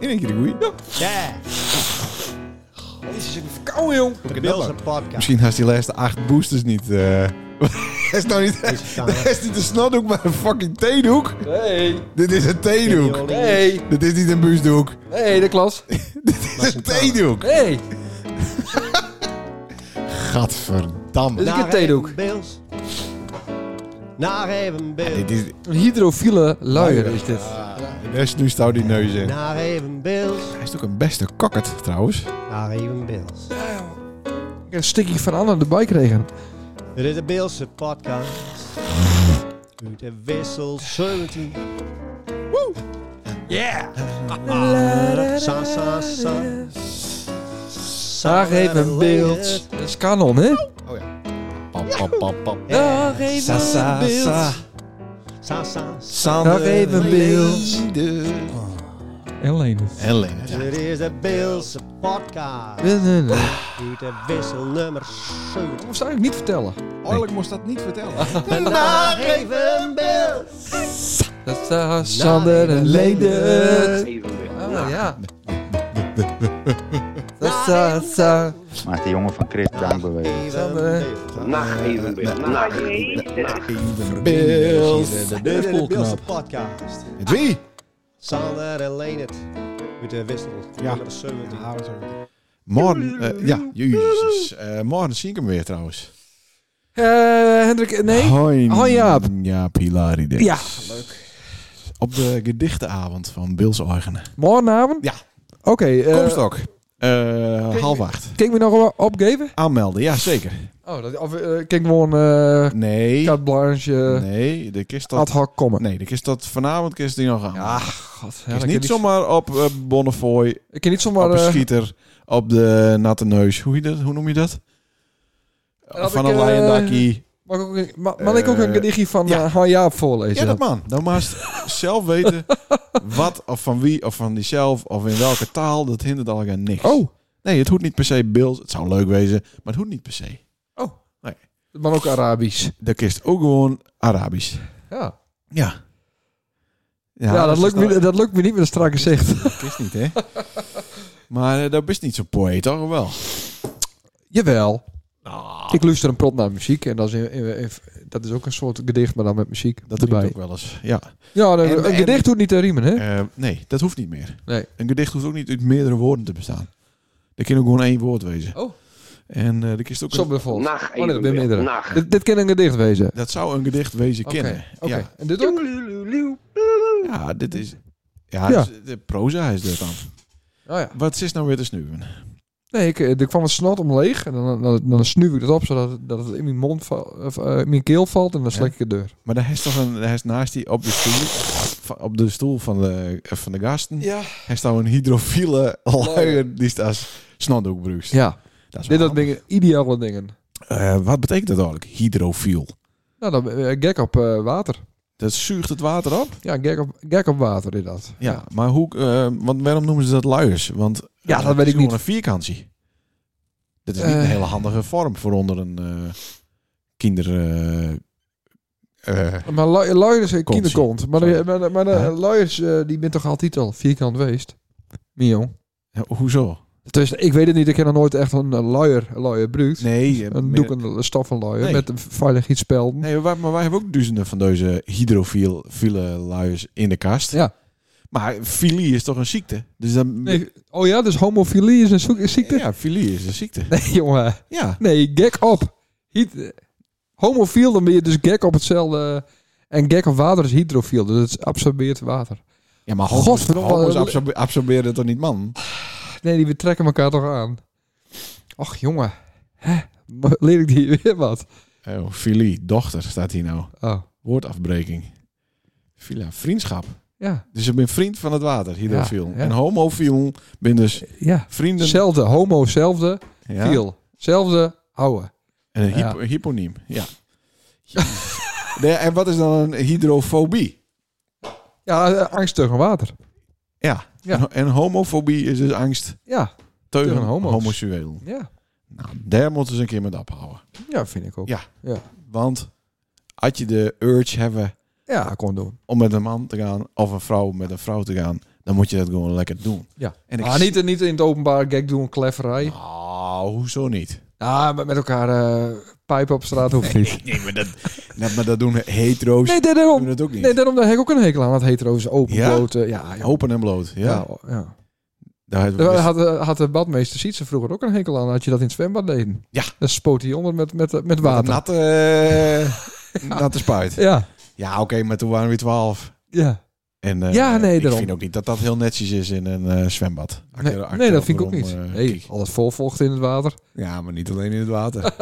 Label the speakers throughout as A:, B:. A: in één keer de goeie.
B: Ja.
C: Jezus, ik ben verkouden, jong.
B: Bills een podcast.
A: Misschien haast die laatste acht boosters niet. eh dat is nou niet,
B: Deze staan,
A: dat is niet een snotdoek, maar een fucking theedoek.
C: Nee.
A: Dit is een theedoek.
C: Nee.
A: Dit is niet een buusdoek.
C: Nee, de klas.
A: Dit is een theedoek.
C: Nee.
A: Gadverdamme.
C: Dit is een theedoek.
B: Bills. Naar even
A: Dit
B: Bills.
A: is,
C: Een hydrofiele luier Ah. is dit.
A: dus nu stout die neus in.
B: Naar even Bills.
A: Hij is ook een beste kakkert trouwens.
B: Naar even Bills.
C: Ik heb een stikkie van Anne erbij kregen.
B: Dit is de Beelse podcast. Uit de wissel 17. Yeah! Sa, sa, sa.
C: Daar heeft een beeld. Dat is kanon, hè?
A: Pap, pap, pap, pap.
C: Daar heeft
B: Sa, sa, sa. Sa, sa, sa.
C: Nog even beeld. En Lenus.
A: En Lenert, ja.
B: Dit is de Beelse podcast.
C: Dat
B: Uit de wissel nummer 17.
C: moest eigenlijk niet vertellen.
A: Eigenlijk moest dat niet vertellen.
B: Naar even Bills.
C: Dat zijn Sander en Leden. Ah, ja. eh, Dat eh, zijn Sa-
D: Maakt de jongen van Chris dank bewegen.
C: Sander.
E: Nacht even Nacht
A: Bills.
B: Dit is de
C: Volknap.
B: Beelse podcast.
A: Met wie?
B: Sander en Leenert. Met de wissel nummer 17.
A: Morgen, eh, ja, jezus. Eh, morgen zie ik hem weer trouwens.
C: Eh, Hendrik, nee.
A: Hoi,
C: Hoi, Jaap.
A: Ja, Pilarides.
C: Ja, leuk.
A: Op de gedichtenavond van Bills Eigenen.
C: Morgenavond?
A: Ja.
C: Oké, eh,
A: Komst ook. Eh half acht.
C: kan ik me nog wel opgeven?
A: Aanmelden, ja zeker.
C: Oh, dat, of eh, kan ik gewoon eh
A: Nee.
C: carte blanche, eh,
A: Nee, de kist
C: ad
A: dat...
C: hoc komen?
A: Nee, de kist dat vanavond kist die nog aan.
C: Ja, god. Ja,
A: Is
C: dan kan
A: niet
C: ik-
A: zomaar Ah, op eh, Bonnefoy,
C: Ik kan niet
A: op
C: zomaar...
A: een
C: eh,
A: schieter, op de natte neus. Hoe, je dat, hoe noem je dat?
C: had
A: Van
C: ik,
A: een
C: eh,
A: leiendakkie.
C: mag ik ook een- ma- mag ik ook een
A: Eh,
C: gedichtje van
A: ja.
C: eh, Han Jaap voorlezen?
A: Ja, dat man. Dan maast zelf weten wat of van wie of van diezelf of in welke taal. Dat hindert al aan niks.
C: Oh,
A: Nee, het hoeft niet per se Bills. Het zou leuk wezen, maar het hoeft niet per se.
C: maar ook Arabisch.
A: De kist ook gewoon Arabisch.
C: Ja,
A: Ja.
C: ja, dat,
A: is
C: lukt
A: dan-
C: me, dat lukt me niet met een strakke zicht.
A: Dat is niet, hè? maar eh, dat is niet zo'n poëet, toch wel?
C: Jawel.
A: Ah.
C: Ik luister een prot naar muziek. En dat is, in- in- in- dat is ook een soort gedicht, maar dan met muziek
A: Dat doe
C: erbij.
A: ik ook wel eens. Ja.
C: Ja, dan-
A: En-
C: een
A: en-
C: gedicht hoeft niet te riemen, hè?
A: Eh, nee, dat hoeft niet meer.
C: Nee.
A: Een gedicht hoeft ook niet uit meerdere woorden te bestaan. Er kan ook gewoon één woord wezen.
C: Oh.
A: En eh er kist ook
C: Zo
A: een,
C: bijvoorbeeld.
E: Nacht
C: Oh, nee, dat ben
E: even
C: meerdere.
E: Nacht.
C: Dit, dit kan een gedicht wezen.
A: dat zou een gedicht wezen
C: Oké,
A: kennen.
C: oké.
A: Ja.
C: En dit ook?
A: ja, dit is... Ja,
C: Ja.
A: is- de proza is dit dan.
C: Oh ja.
A: Wat is nou weer te snuwen?
C: Nee, ik, eh, er kwam een snot omleeg. En dan, dan, dan snuif ik dat op, zodat het- dat het in mijn mond val- of, eh, in mijn keel valt. En dan slik ik het deur.
A: Maar daar is toch een, daar is naast die op de stoel, van- op de stoel van de, eh, van de gasten,
C: Ja.
A: Hij staat een hydrofiele luier die staat snotdoek bruist.
C: Ja,
A: dat is
C: dit
A: wel
C: dat dingen, ideale dingen.
A: handig. Eh, wat betekent dat eigenlijk? Hydrofiel.
C: Nou, dan eh, gek op eh, water.
A: Dat zuigt het water op.
C: Ja, gek op, gek op water is dat.
A: Ja, maar hoe? eh, want waarom noemen ze dat luiers? Want eh,
C: Ja, dat
A: het
C: weet
A: is
C: ik niet.
A: Gewoon een vierkantje. Dat is niet
C: Eh.
A: een hele handige vorm voor onder een eh, kinder. eh, eh,
C: Maar lu- luiers en
A: Kontie.
C: kinderkont. Maar, de- maar, de- maar de
A: Huh?
C: luiers, eh, die bent toch altijd al vierkant geweest? Mio.
A: hoezo?
C: Dus ik weet het niet, ik heb nog nooit echt een eh, luier, een luier gebruikt.
A: Nee, eh,
C: Een
A: meer-
C: doek, een stof, een luier
A: Nee.
C: met een veilig iets spel.
A: Nee, maar, maar wij hebben ook duizenden van deze hydrofiele luiers in de kast.
C: Ja.
A: Maar filie is toch een ziekte? Dus dan,
C: Nee, oh ja, dus homofilie is een zoek- is ziekte?
A: Ja, filie is een ziekte.
C: Nee, jongen.
A: Ja.
C: Nee, gek op. Hyd- homofiel, dan ben je dus gek op hetzelfde. eh, En gek op water is hydrofiel, dus het absorbeert water.
A: Ja, maar
C: homo's- Godverdomme. homo's absorbe-
A: absorberen het toch niet, man?
C: Nee, die we trekken elkaar toch aan. Och, jongen. Hè? Leer ik die weer wat?
A: Oh, filie, dochter, staat hier nou.
C: Oh,
A: Woordafbreking. Filia, vriendschap.
C: ja.
A: Dus je bent vriend van het water, hydrofiel.
C: Ja, ja.
A: En homofiel ben dus
C: Ja.
A: vrienden...
C: Zelfde, homo, zelfde,
A: ja.
C: fiel. Zelfde, ouwe.
A: En een hypo- hyponiem, ja. Jezus. Nee, en wat is dan een hydrofobie?
C: Ja, eh, angst tegen water.
A: Ja.
C: Ja.
A: En, en homofobie is dus angst
C: Ja,
A: tegen,
C: Tegen homo's.
A: homoseksueel.
C: ja.
A: Nou, daar moeten ze een keer met ophouden.
C: Ja, vind ik ook.
A: Ja. Want had je de urge hebben
C: Ja, kon doen.
A: om met een man te gaan of een vrouw met een vrouw te gaan, dan moet je dat gewoon lekker doen.
C: Ja.
A: En ik-
C: Maar Ah, niet, niet in het openbaar gek doen, klefferij.
A: Nou, hoezo niet?
C: Ah, met- met elkaar eh pijpen op straat hoeft niet.
A: Nee, maar dat, nee, maar dat doen hetero's.
C: Nee,
A: doen
C: daarom.
A: dat ook niet.
C: Nee, daarom daar heb ik ook een hekel aan. Dat hetero's open,
A: Ja?
C: blote- Ja, joh.
A: Open en bloot, ja. Dus-
C: ja. oh, ja.
A: Daar had-
C: Daar had, eh, had de badmeester Sietse vroeger ook een hekel aan. Had je dat in het zwembad deden?
A: Ja.
C: Dan spoot hij onder met, met, met
A: Met een
C: water.
A: Natte, eh, natte spuit.
C: Ja.
A: Ja, oké, maar toen waren we weer 12.
C: Ja.
A: En, eh,
C: Ja, nee,
A: ik
C: daarom.
A: vind ook niet dat dat heel netjes is in een eh, zwembad.
C: Nee,
A: Acteur-
C: nee, dat
A: acteur
C: vind ik ook
A: erom,
C: niet.
A: eh,
C: Nee,
A: kijk.
C: al dat vol vocht in het water.
A: Ja, maar niet alleen in het water.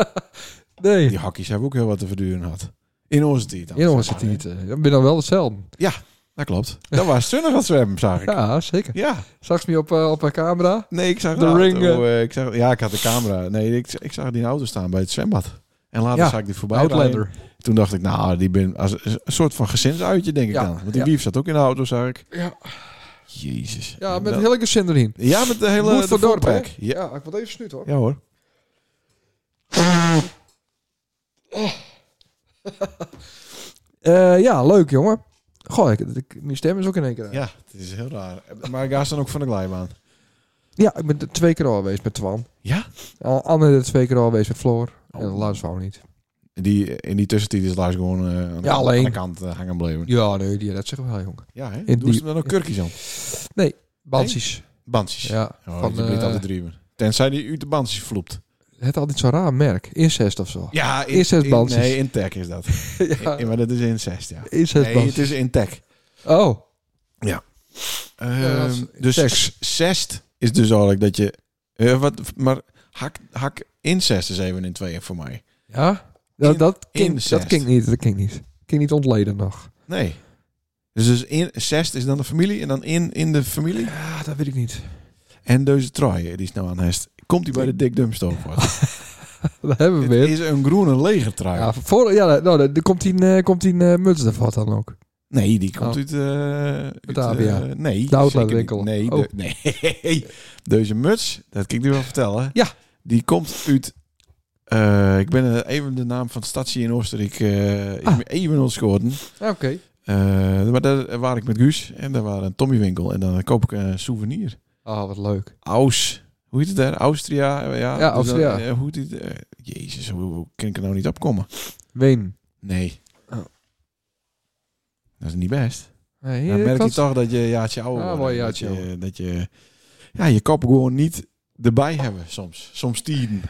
C: Nee.
A: Die hakjes hebben ook heel wat te verduren gehad. In onze tijd dan.
C: In ons
A: zeg
C: zit
A: maar,
C: hij
A: hè.
C: niet. eh, Dan ben je dan wel hetzelfde.
A: Dat klopt. Dat was Sunnig aan het zwemmen, zag ik. Ja.
C: Ja, zeker. Straks me op, eh, op een camera.
A: Nee, ik zag
C: De
A: de
C: ring,
A: auto, eh, ik zag, ja, ik had de camera. Nee, ik, ik zag die auto staan bij het zwembad. En later
C: Ja,
A: zag ik die voorbij rijden.
C: Outlander.
A: Toen dacht ik, nou, die ben als een soort van gezinsuitje, denk ik
C: Ja,
A: dan. Want die
C: ja.
A: wief zat ook in de auto, zag ik.
C: Ja.
A: Jezus.
C: Ja, met
A: Dat-
C: een hele gezin erin.
A: ja, met de hele
C: Moet
A: de
C: voor dorp, hè?
A: voorpak. Ja.
C: ik word even snuit hoor.
A: ja hoor.
C: Eh, ja, leuk jongen. Goh, ik, ik- mijn stem is ook in één keer. uit. Ja,
A: Ja, het is heel raar. Maar ik haast dan ook van de glijbaan.
C: ik ben er twee keer al geweest met Twan.
A: Ja?
C: Al- Anne er twee keer al geweest met Floor.
A: Oh.
C: En Lars wou niet.
A: Die, in die tussentijd is Lars gewoon eh, aan, de-
C: Ja, alleen.
A: aan de kant eh, hangen blijven.
C: Ja, nee, die redt zich wel, jongen.
A: Ja, hè? Doen
C: In
A: ze
C: die-
A: hem dan ook kurkjes aan?
C: Bansjes.
A: Bandjes.
C: Ja.
A: Oh,
C: van,
A: je blijft
C: eh,
A: altijd drieven. Tenzij die uit de bandjes vloept.
C: het altijd zo'n raar merk. Incest of zo.
A: Ja,
C: Incest bandjes.
A: Nee, in tech is dat.
C: Ja.
A: In- maar dat is incest, ja.
C: Incest
A: Nee, het
C: bansjes.
A: is in tech.
C: Oh. dat
A: Ehm
C: is
A: dus
C: seks.
A: zest is dus eigenlijk dat je... eh, wat, maar hak, hak incest is even in tweeën voor mij.
C: Ja? Dat,
A: In-
C: dat, klinkt,
A: incest.
C: dat klinkt niet. Dat klinkt niet. Klinkt niet ontleden nog.
A: Nee. Dus, dus in, zest is dan de familie en dan in, in de familie.
C: Ja, dat weet ik niet.
A: En deze trui die is nou aan hest. Komt hij bij de Dick Dumpstone voor?
C: Dat hebben
A: Het
C: we weer.
A: is een groene legertrui.
C: Ja, voor, ja nou, daar- daar komt die, eh, komt die eh, muts ervan dan ook.
A: Nee, die komt
C: Oh.
A: uit... eh uit,
C: Batavia.
A: eh, nee,
C: De
A: zeker niet.
C: outletwinkel.
A: Nee,
C: Oh.
A: de- nee. Deze muts, dat kan ik nu wel vertellen.
C: Ja.
A: Die komt uit... eh, ik ben eh, even de naam van de stadje in Oostenrijk eh, is
C: Ah.
A: me even ontschoten.
C: Ja, Oké.
A: Eh, maar daar waar ik met Guus en daar waren een Tommy winkel. En dan koop ik een souvenir.
C: Oh, wat leuk.
A: Aus. Hoe heet het daar? Austria? eh, Ja, dan,
C: Austria.
A: eh, hoe heet het? eh, Jezus, hoe, hoe kan ik er nou niet opkomen?
C: Ween.
A: Nee.
C: Oh.
A: Dat is niet best.
C: Hey,
A: Dan Nou, merk je toch dat je jaartje ouder
C: Ah,
A: wordt.
C: mooi
A: Dat
C: jaartje
A: je, dat je ja, je kop gewoon niet erbij hebben soms. Soms tien.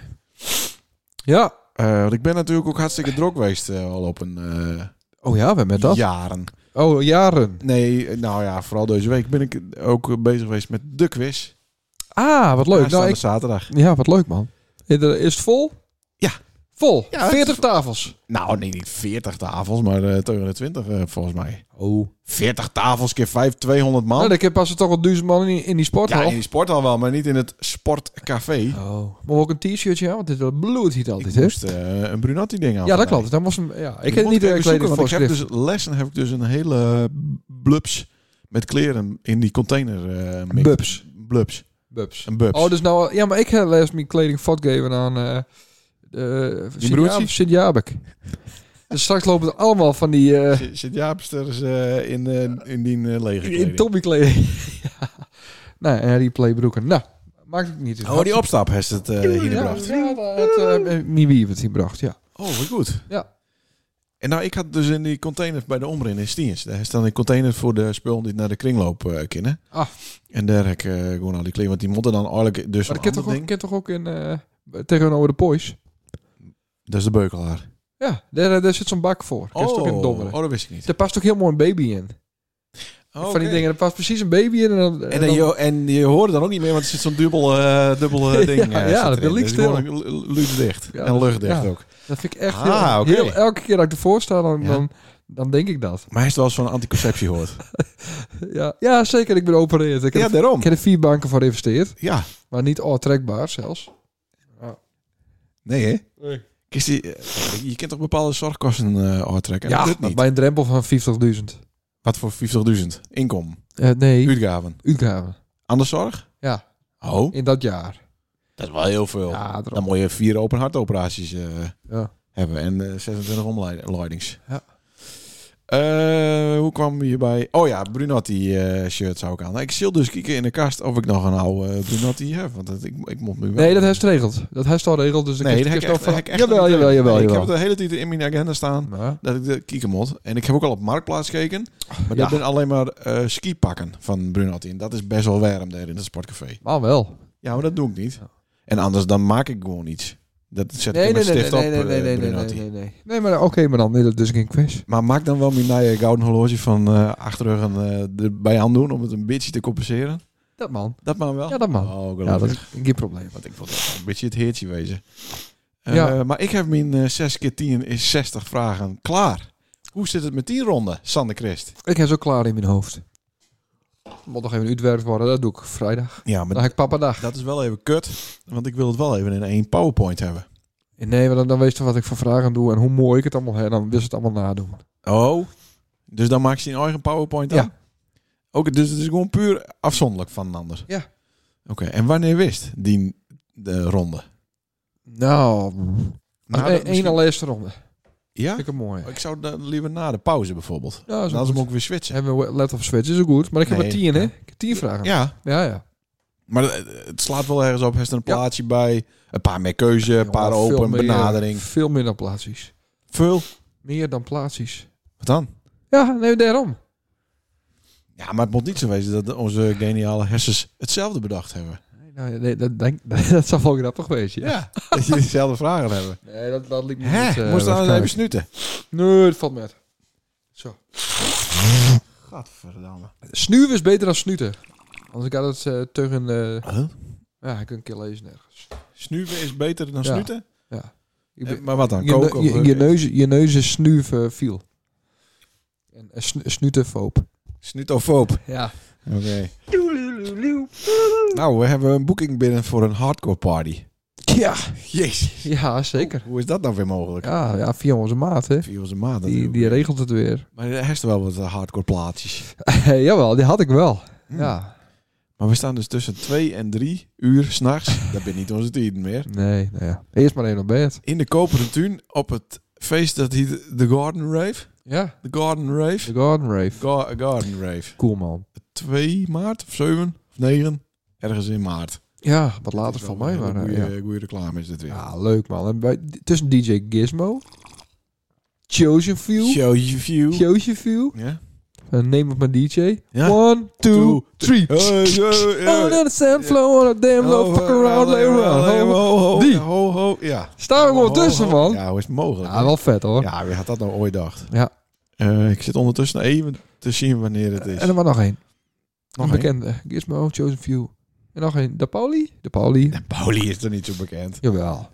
C: Ja.
A: Eh, want ik ben natuurlijk ook hartstikke druk geweest eh, al op een eh,
C: Oh ja, we met dat?
A: jaren.
C: Oh, jaren.
A: Nee, eh, nou ja, vooral deze week ben ik ook eh, bezig geweest met de quiz.
C: Ah, wat leuk. Nou,
A: Aanstaande
C: ik,
A: zaterdag.
C: ja, wat leuk, man. Is er- is het vol?
A: Ja.
C: Vol.
A: Ja, het
C: 40
A: is-
C: tafels.
A: Nou, nee, niet 40 tafels, maar eh tegen de 20 eh, volgens mij.
C: Oh.
A: 40 tafels keer 5, 200 man.
C: Nou, dan heb pas toch al duizend man in, in die
A: ja,
C: sporthal.
A: in de sport al wel, maar niet in het sportcafé.
C: Oh. Maar ook een t-shirtje aan, want dit bloedt hier
A: ik
C: altijd, hè?
A: moest eh, een Brunatti-ding aan.
C: Ja, dat
A: vandaag.
C: klopt. Dan was hem, ja, ik
A: moet
C: heb niet eh, de
A: even zoeken,
C: kleding
A: want
C: voor
A: ik heb
C: schrift.
A: dus lessen heb ik dus een hele blubs met kleren in die container. eh, mikt.
C: Bubs.
A: Blubs.
C: Bubs.
A: Een bubs.
C: Oh, dus nou... Ja, maar ik heb les mijn kleding geven aan... eh eh, Sint-Jaap-
A: broertje?
C: Sint-Jabek. dus straks lopen er allemaal van die... eh,
A: Zit- Zit Jaapsters eh, in, eh, in die eh, lege
C: in
A: kleding.
C: Tommy kleding. ja. Nou, en die playbroeken. Nou, maakt het niet uit.
A: Oh, die opstap heeft het eh hier
C: ja,
A: gebracht.
C: Ja, dat uh, wie het hier bracht, ja.
A: Oh, wat goed.
C: Ja.
A: En nou, ik had dus in die container bij de Omrin in Stiens. Daar is dan een container voor de spullen die naar de kringloop eh kunnen.
C: Ah.
A: En daar heb ik eh, gewoon al die kleren. Want die moeten dan eigenlijk dus
C: Maar
A: een
C: dat kent
A: ander
C: toch, ook-
A: ding.
C: kent toch ook in... eh tegenover de Poys?
A: Dat is de beukelaar.
C: Ja, daar, daar zit zo'n bak voor. Dat is toch in het dommeren.
A: oh, dat wist ik niet.
C: Daar past ook heel mooi een baby in. Van die
A: Oké.
C: dingen, daar past precies een baby in. En dan,
A: En, dan je, en je hoorde dan ook niet meer, want er zit zo'n dubbel, eh, dubbel eh, ding.
C: Ja,
A: eh,
C: ja,
A: zit
C: dat
A: erin.
C: ligt
A: Dus gewoon lu- luchtdicht.
C: Ja,
A: en
C: dat-
A: luchtdicht
C: ja.
A: ook.
C: Dat vind ik echt
A: Ah,
C: heel,
A: oké.
C: heel- Elke keer dat ik ervoor sta, dan,
A: Ja.
C: dan, dan denk ik dat.
A: Maar hij heeft wel eens van anticonceptie gehoord.
C: Ja, ja zeker. Ik ben opereerd. Ik heb,
A: ja,
C: er,
A: daarom.
C: ik heb er vier banken voor geïnvesteerd.
A: Ja.
C: Maar niet aantrekbaar zelfs.
A: Nee, hè?
C: Nee.
A: Kist die- eh, je kunt toch bepaalde zorgkosten eh aantrekken?
C: ja,
A: dat doet niet.
C: bij een drempel van 50.000.
A: Wat voor 50.000? Inkom.
C: Eh, nee,
A: Uitgaven.
C: uitgaven.
A: Anders zorg?
C: Ja.
A: Oh,
C: In dat jaar.
A: dat is wel heel veel.
C: Ja,
A: Oh. Dan moet je vier open hartoperaties eh,
C: Ja.
A: hebben en eh, 26 omleidings.
C: Ja.
A: Eh, hoe kwam je bij? Oh ja, Brunotti eh shirt zou ik aan. Ik zil dus kijken in de kast of ik nog een oude eh, Brunotti heb. Want dat, ik, ik mocht nu wel.
C: Nee, dat heeft ze geregeld. Dat heeft ze al geregeld. Dus
A: Nee, dat
C: ik
A: heb ik echt, dat heb ik echt
C: Jawel,
A: niet. eh,
C: jawel, jawel.
A: Nee, Ik
C: jawel.
A: heb het de hele tijd in mijn agenda staan
C: Maar-
A: dat ik de kieken moet. En ik heb ook al op Marktplaats gekeken. Maar dat zijn alleen maar eh skipakken van Brunotti. En dat is best wel warm daar in het sportcafé.
C: Maar wel.
A: Ja, maar dat doe ik niet. En anders dan maak ik gewoon iets. Dat zet
C: Nee,
A: ik
C: nee,
A: met
C: nee, nee,
A: stift
C: nee, nee,
A: op,
C: nee,
A: eh,
C: nee, nee,
A: Brunotti.
C: nee, nee. Nee, maar oké, maar dan. Nee, dat is dus geen quiz.
A: Maar maak dan wel mijn nieuwe gouden horloge van eh achterrug en eh erbij aan doen om het een beetje te compenseren.
C: Dat man.
A: Dat maar wel.
C: Ja, dat man.
A: Oh,
C: Ja,
A: gelukkig.
C: dat is geen probleem.
A: Want ik wil toch wel een beetje het heertje wezen. Eh,
C: Ja.
A: Maar ik heb mijn eh, 6 keer 10 is 60 vragen klaar. Hoe zit het met die ronde, Sander Christ?
C: Ik heb zo klaar in mijn hoofd. Moet nog even uitwerkt worden. Dat doe ik vrijdag.
A: Ja,
C: Dan heb ik papa dag.
A: dat is wel even kut. Want ik wil het wel even in één PowerPoint hebben.
C: Nee, maar dan, dan weet je wat ik voor vragen doe en hoe mooi ik het allemaal heb. Dan wist het allemaal nadoen.
A: Oh. Dus dan maak je een eigen PowerPoint aan?
C: Ja.
A: Ook, dus het is gewoon puur afzonderlijk van een ander?
C: Ja.
A: Oké, en wanneer wist die de ronde?
C: Nou,
A: Na de-
C: één
A: misschien- Nou,
C: laatste ronde.
A: Ja? Oh,
C: Vind ik het mooi.
A: Ik zou dan liever na de pauze bijvoorbeeld.
C: Ja,
A: Dan
C: zo
A: is hem
C: goed.
A: ook weer switchen.
C: Hebben we let op switch, is ook goed. Maar ik heb
A: Nee,
C: er tien, hè?
A: ja.
C: Ik heb tien vragen. Ja,
A: Ja,
C: ja.
A: Maar eh, het slaat wel ergens op. Er is er een
C: Ja.
A: plaatje bij. Een paar meer keuze, een
C: Jongen,
A: paar
C: veel
A: open,
C: meer-
A: benadering.
C: Veel meer dan plaatsies.
A: Veel.
C: Meer dan plaatsies.
A: Wat dan?
C: Ja, nee, daarom.
A: Ja, maar het moet niet zo wezen dat onze geniale hersens hetzelfde bedacht hebben.
C: Nee, nou, nee, dat, denk, dat zou wel grappig wezen, ja.
A: Ja, dat je dezelfde vragen hebben.
C: Nee, dat, dat liep me
A: Hè?
C: niet... eh,
A: Moest dan
C: waarschijnlijk.
A: even snuiten.
C: Nee, dat valt met. Zo.
A: Gadverdamme.
C: Snuwen is beter dan snuten. Anders gaat het eh tegen... eh
A: Huh?
C: ja, ik kan een keer lezen nergens.
A: Snuiven is beter dan
C: Ja.
A: snuten?
C: Ik
A: Eh,
C: ben-
A: Maar wat dan?
C: je,
A: Koken?
C: ne-
A: of,
C: je,
A: eh,
C: je, neus, je neus is snuven viel. En, en snu- snutenfoop.
A: Snutofoob.
C: Ja.
A: Oké. Nou, we hebben een boeking binnen voor een hardcore party.
C: Ja.
A: Jezus.
C: Ja, zeker.
A: Hoe is dat nou weer mogelijk?
C: Ja, ja via onze maat, hè.
A: Via onze maat.
C: Die, die regelt het weer.
A: Maar er is wel wat eh, hardcore plaatjes.
C: Jawel, die had ik wel.
A: Hmm.
C: Ja.
A: Maar we staan dus tussen twee en drie uur s'nachts. Dat bent niet onze tijd meer.
C: Nee, nou ja. Eerst maar even op bed.
A: In de koperen tuin op het feest dat heet de Garden Rave.
C: Ja.
A: De Garden
C: De
A: Rave.
C: Garden Rave.
A: Ga- Garden Rave.
C: Cool, man.
A: 2 maart of 7 of 9. Ergens in maart.
C: Ja, wat later
A: Dat is
C: van
A: wel
C: mij,
A: een hele
C: maar... eh, ja. Ah,
A: Goede, goede reclame is dit weer.
C: ja, leuk, man. En bij, tussen DJ Gizmo, Chosen View,
A: Show you view.
C: Chosen View,
A: Ja.
C: en Name of My DJ.
A: Ja.
C: One, two,
A: Two,
C: three.
A: Hey, hey, hey.
C: Oh, the sand flow on a damn low,
A: Oh,
C: fuck around, lay around. Ho,
A: Ho, ho,
C: Die.
A: Ho, ho, ja.
C: Staan we
A: Ho,
C: gewoon
A: ho,
C: tussen,
A: ho.
C: man.
A: oh, Ja, hoe is het mogelijk?
C: Ja, wel vet, hoor.
A: Ja, wie had dat nou ooit dacht?
C: Ja.
A: Eh, ik zit ondertussen even te zien wanneer het is.
C: En er maar nog één.
A: Nog
C: een
A: één.
C: bekende. Gizmo, Chosen View. En nog een. De Pauli? De Pauli.
A: En Pauli is er niet zo bekend.
C: Jawel.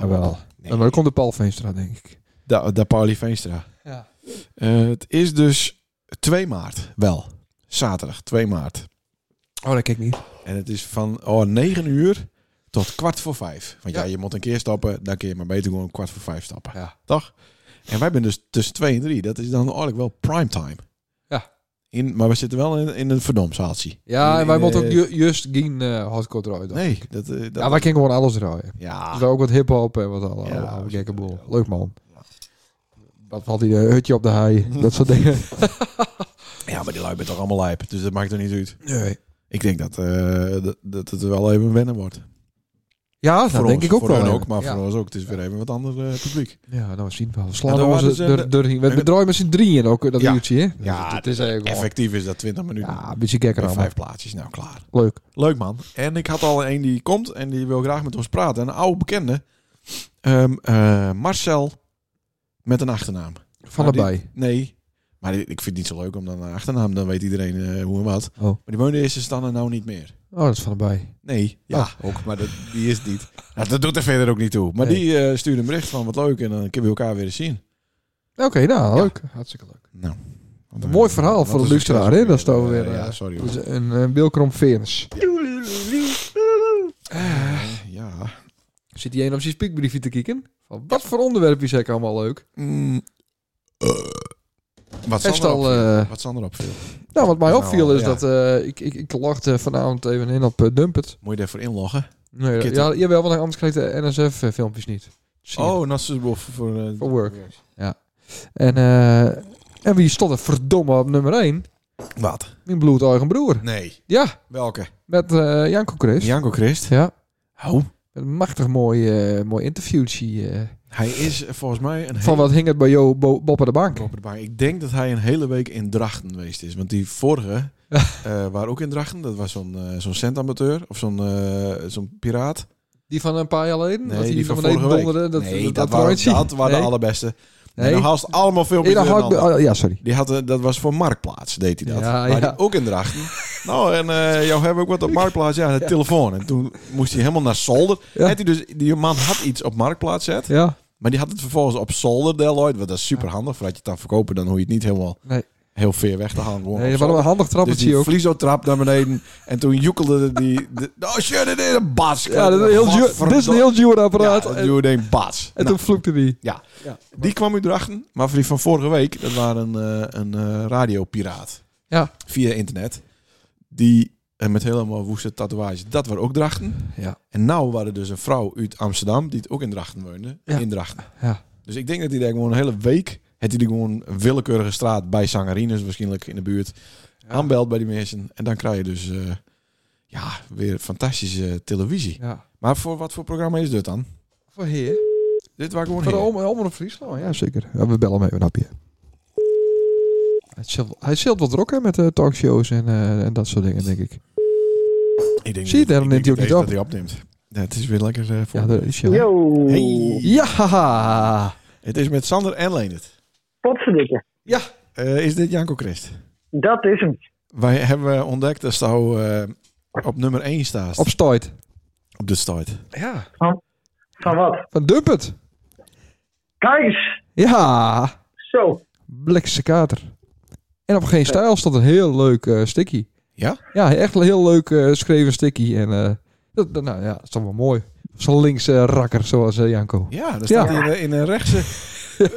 C: Jawel.
A: Nee.
C: Maar Ah, dan komt de Paul Veenstra, denk ik.
A: Da, da Pauli Veenstra.
C: Ja.
A: Eh, het is dus 2 maart, wel. Zaterdag, 2 maart.
C: Oh, dat kijk ik niet.
A: En het is van oh, 9 uur tot kwart voor vijf. Want ja.
C: Ja.
A: je moet een keer stappen, dan kun je maar beter gewoon kwart voor vijf stappen.
C: Ja.
A: Toch? En wij zijn dus tussen 2 en 3. Dat is dan eigenlijk wel primetime.
C: Ja.
A: In, maar we zitten wel in, in een verdomsaaltje.
C: Ja,
A: In-
C: en wij
A: in,
C: moeten
A: eh,
C: ook ju- juist geen eh hardcore draaien. dan.
A: Nee, dat... eh, dat
C: ja, wij kunnen gewoon alles draaien.
A: ja.
C: Dus wij ook wat hip-hop en wat al.
A: Ja,
C: Ja,
A: we
C: gekke
A: zitten-
C: boel. Leuk, man. Wat valt die eh, hutje op de haai? Dat soort dingen.
A: ja, maar die lui bent toch allemaal lijp. Dus dat maakt er niet uit.
C: Nee.
A: Ik denk dat, eh, dat, dat het wel even wennen wordt.
C: Ja,
A: Voor
C: dat denk
A: ons,
C: ik ook
A: voor
C: wel.
A: hen
C: hè.
A: ook, maar
C: ja.
A: voor ons ook. Het is weer even wat ander eh, publiek.
C: Ja, nou, we zien wel. We slaan
A: Ja, dan
C: ja, onze
A: waren ze-
C: deur- deur heen. We we draaien met z'n drieën ook, eh, dat
A: eh, Ja.
C: uurtje, hè?
A: Ja,
C: Dus het is eigenlijk wel-
A: Effectief is dat 20 minuten.
C: Ja, een beetje gekker
A: Met
C: allemaal.
A: vijf plaatjes, nou klaar.
C: Leuk.
A: Leuk man. En ik had al een die komt en die wil graag met ons praten. Een oude bekende. Ehm, eh, Marcel met een achternaam.
C: Van
A: Maar die-
C: erbij.
A: Nee, maar die- ik vind het niet zo leuk om dan een achternaam. Dan weet iedereen eh, hoe en wat.
C: Oh.
A: Maar die woonde eerst en staan er nou niet meer.
C: Oh, dat is van erbij.
A: Nee, ja, ook, maar dat, die is het niet. Nou, dat doet er verder ook niet toe. Maar
C: Nee.
A: die eh, stuurde een bericht van wat leuk en dan kunnen we elkaar weer eens zien.
C: Oké, nou, leuk. Hartstikke leuk.
A: Nou.
C: Een mooi verhaal
A: Wat
C: voor de
A: is
C: luisteraar,
A: succes
C: hè? Dat is
A: weer,
C: toch
A: eh,
C: weer,
A: Ja,
C: eh,
A: sorry. hoor.
C: Dus een uh, Wilkrom Veens.
A: Eh, Ja.
C: Zit hij een op zijn spiekbriefje te kijken? Van, wat voor onderwerpjes heb ik allemaal leuk?
A: Mm. Eh. Wat Sander
C: Hij is al,
A: opviel.
C: eh,
A: Wat Sander opviel.
C: Nou, wat mij
A: Nou,
C: opviel is
A: ja.
C: dat eh, ik, ik, ik logde vanavond even in op eh, Dumpet.
A: Moet je daarvoor inloggen?
C: Nee,
A: Kitten.
C: ja, jawel, want anders eh, krijg je de NSF-filmpjes niet. Zie je.
A: Oh, Nassus voor... eh,
C: Voor work. En eh, En wie stond er verdomme op nummer 1?
A: Wat?
C: Mijn bloedeigen broer.
A: Nee.
C: Ja,
A: Welke?
C: met eh, Janko Chris.
A: Janko Christ.
C: Ja.
A: Dus- Oh.
C: Een machtig mooi, eh, mooi interviewtje. eh.
A: Hij is eh, volgens mij een
C: Van
A: hele-
C: wat hing het bij jou, Bo- Bob aan de bank?
A: Bob de Baar. Ik denk dat hij een hele week in Drachten geweest is. Want die vorige eh waren ook in Drachten. Dat was zo'n eh, zo'n centamateur of zo'n eh, zo'n piraat.
C: Die van een paar jaar geleden?
A: Nee,
C: dat
A: die,
C: Hmm,
A: van
C: hij naar beneden
A: vorige week.
C: donderde, Dat,
A: nee, dat,
C: dat, dat,
A: waren,
C: rondje?
A: dat waren de
C: Nee.
A: allerbeste.
C: Nee.
A: En dan haast allemaal
C: Eer
A: filmpjes
C: dan
A: door
C: had ik-
A: elkaar.
C: oh, ja, sorry.
A: Die had, eh, dat was voor Marktplaats, deed hij dat.
C: Ja,
A: maar
C: ja.
A: die ook in Drachten. nou, en eh jou hebben ook wat op Marktplaats. Ja, de telefoon. En toen moest hij helemaal naar zolder.
C: Ja.
A: Had hij dus, die man had iets op Marktplaats zet.
C: Ja,
A: Maar die had het vervolgens op zolder deloid. Want dat is super handig. Voordat je het dan verkopen, dan hoef je het niet helemaal
C: Nee.
A: heel ver weg te halen. Gewoon
C: nee,
A: op
C: dat was wel
A: zolder.
C: een handig
A: Dus
C: trappetje
A: die
C: ook.
A: vlieso trap naar beneden. En toen joekelde die... de- oh shit, dit is een bas.
C: Ja, dat is een heel duur- dit is een heel duur
A: Ja,
C: apparaat.
A: dat
C: en
A: duurde een bas.
C: en
A: Nou,
C: toen vloekte die.
A: die kwam u erachter. Maar voor die van vorige week, dat waren eh, een eh, radiopiraat.
C: Ja.
A: Via internet. Die... En met helemaal woeste tatoeages. Dat waren ook drachten.
C: Ja.
A: En nou waren dus een vrouw uit Amsterdam. Die het ook in drachten woonde.
C: Ja.
A: In drachten.
C: Ja.
A: Dus ik denk dat hij daar gewoon een hele week... Het hij gewoon een willekeurige straat bij Sangarines waarschijnlijk in de buurt. aanbelt bij die mensen. En dan krijg je dus eh, ja, weer fantastische eh, televisie.
C: Ja.
A: Maar voor wat voor programma is dit dan?
C: Voor heer.
A: Dit waar gewoon
C: Voor de
A: heen.
C: om, om op Friesland, ja zeker. Ja, we bellen hem even een hapje. Hij zult- Hij zult wat rocken met eh, talkshows en, eh, en dat soort dingen, denk ik.
A: Ik denk
C: Zie je,
A: dat-
C: daarom
A: ik
C: neemt
A: denk
C: hij ook
A: dat
C: niet
A: hij opneemt. Ja, het is weer lekker eh, voor.
C: Ja, dat is ja.
F: Yo,
A: Hey.
C: Ja, haha.
A: Het is met Sander en Leendert.
F: potverdikke.
A: Eh, is dit Janko Christ?
F: Dat is hem.
A: Wij hebben ontdekt dat Stouw eh, op nummer 1 staat.
C: op
A: Op,
C: stoit.
A: de start.
C: Ja.
F: Van wat?
C: Van Dumpet.
F: Kijk eens.
C: Ja.
F: Zo.
C: Blikse kater. En op geen stijl stond een heel leuk eh sticky.
A: Ja?
C: Ja, echt een heel leuk eh schreven sticky. En eh, dat, dat- nou ja, dat is toch wel mooi. Zo'n linkse rakker zoals eh, Janko.
A: Ja, daar staat
C: Ja.
A: hij in, eh, in een rechtse,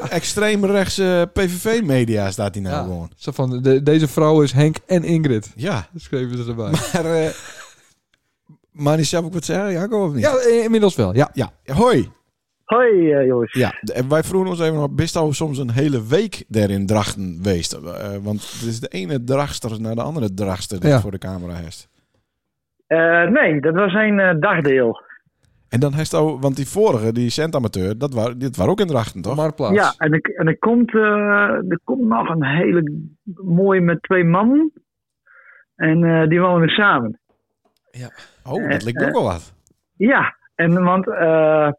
A: extreem rechtse PVV-media staat hij nou
C: Ja.
A: gewoon.
C: Zo van, de- deze vrouw is Henk en Ingrid.
A: Ja.
C: Dat schreven ze erbij.
A: Maar, eh maar die zelf ook wat zeggen, Janko, of niet?
C: Ja, eh, inmiddels wel. Ja.
A: ja. Hoi.
F: Hoi eh, jongens.
A: Ja, de- en wij vroegen ons even af, bist al soms een hele week daar in Drachten geweest? Eh, want het is de ene drachtster naar de andere drachtster die
C: Ja.
A: het voor de camera heeft.
F: Eh, nee, dat was een eh, dagdeel.
A: En dan heeft al, want die vorige, die centamateur, dat waren, dit waren ook in Drachten, toch?
C: Maar plaats.
F: Ja, en, er, en er, komt, eh, er komt nog een hele mooie met twee mannen. En eh, die wonen samen.
A: oh, dat lijkt ook wel wat.
F: Ja, en, want eh,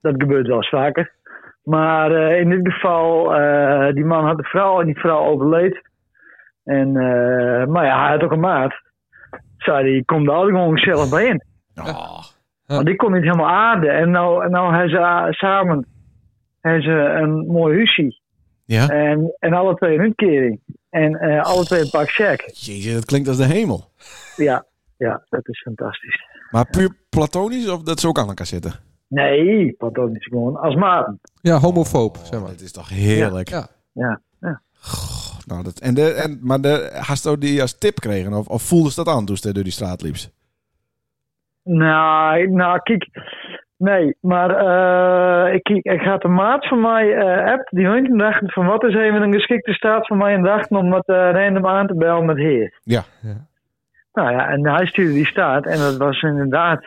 F: dat gebeurt wel eens vaker. Maar eh, in dit geval, eh, die man had een vrouw en die vrouw overleed. En, eh, maar ja, hij had ook een maat. Zei die, kom daar ook gewoon gezellig bij in.
A: Ja.
F: Want die kon niet helemaal aarden. En nou, en nou hebben ze a- samen hebben ze een mooi huisje.
A: ja?
F: En, en alle twee een uitkering. En eh, alle twee een pak check.
A: Jezus, dat klinkt als de hemel.
F: Ja, ja, dat is fantastisch.
A: Maar puur platonisch of dat ze ook aan elkaar zitten?
F: Nee, want dat is gewoon als maat.
C: Ja, homofoob, zeg maar.
A: Dat is toch heerlijk.
C: Ja.
F: Ja, ja.
A: Goh, nou, dat, en de, en, maar de, hast ook die als tip kregen of, of voelde ze dat aan toen ze door die straat liep?
F: Nou, nou kijk. Nee, maar eh, ik, ik, ik had een maat van mij eh, app die hun dachten van wat is even een geschikte staat van mij en dachten om wat eh, random aan te bellen met heer.
A: Ja.
C: Ja.
F: Nou ja, en hij stuurde die staat. En dat was inderdaad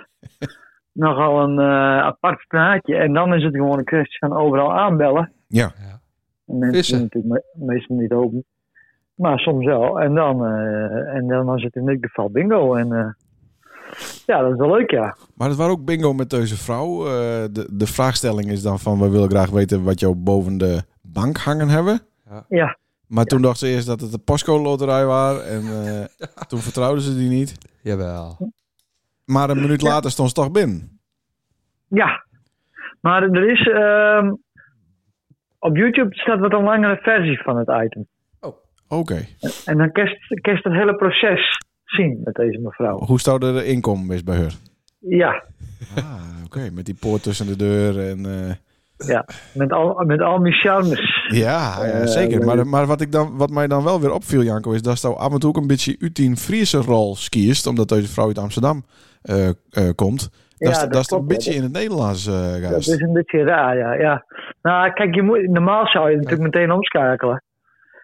F: nogal een eh, apart praatje. En dan is het gewoon een kwestie van overal aanbellen.
A: Ja.
C: Ja.
F: En mensen
C: Vissen.
F: doen natuurlijk me- meestal niet open. Maar soms wel. En dan, eh, en dan was het in dit geval bingo. En eh, ja, dat is wel leuk, ja.
A: Maar het was ook bingo met deze vrouw. Eh, de, de vraagstelling is dan van, we willen graag weten wat jou boven de bank hangen hebben.
F: Ja,
A: Maar toen dacht ze eerst dat het de Pasco loterij was. En eh, toen vertrouwden ze die niet.
C: Jawel.
A: Maar een minuut later stond ze toch binnen.
F: ja. Maar er is... ehm, op YouTube staat wat een langere versie van het item.
A: Oké.
F: En dan kerst kerst het hele proces zien met deze mevrouw.
A: Hoe zou de inkomen is bij haar?
F: Ja.
A: Ah, oké. Met die poort tussen de deur en... eh,
F: Met al, met al mijn charmes.
A: Ja,
F: Eh,
A: ja, zeker. Maar, maar wat, ik dan, wat mij dan wel weer opviel, Janko, is dat ze af en toe ook een beetje uit die Friese rol skiest. Omdat deze vrouw uit Amsterdam eh, eh, komt.
F: Ja,
A: dat, is-
F: dat
A: dat is een
F: klopt, ja.
A: beetje in het Nederlands eh
F: Dat
A: juist.
F: is een beetje raar, ja. ja. Nou, kijk, je moet, normaal zou je natuurlijk meteen omschakelen.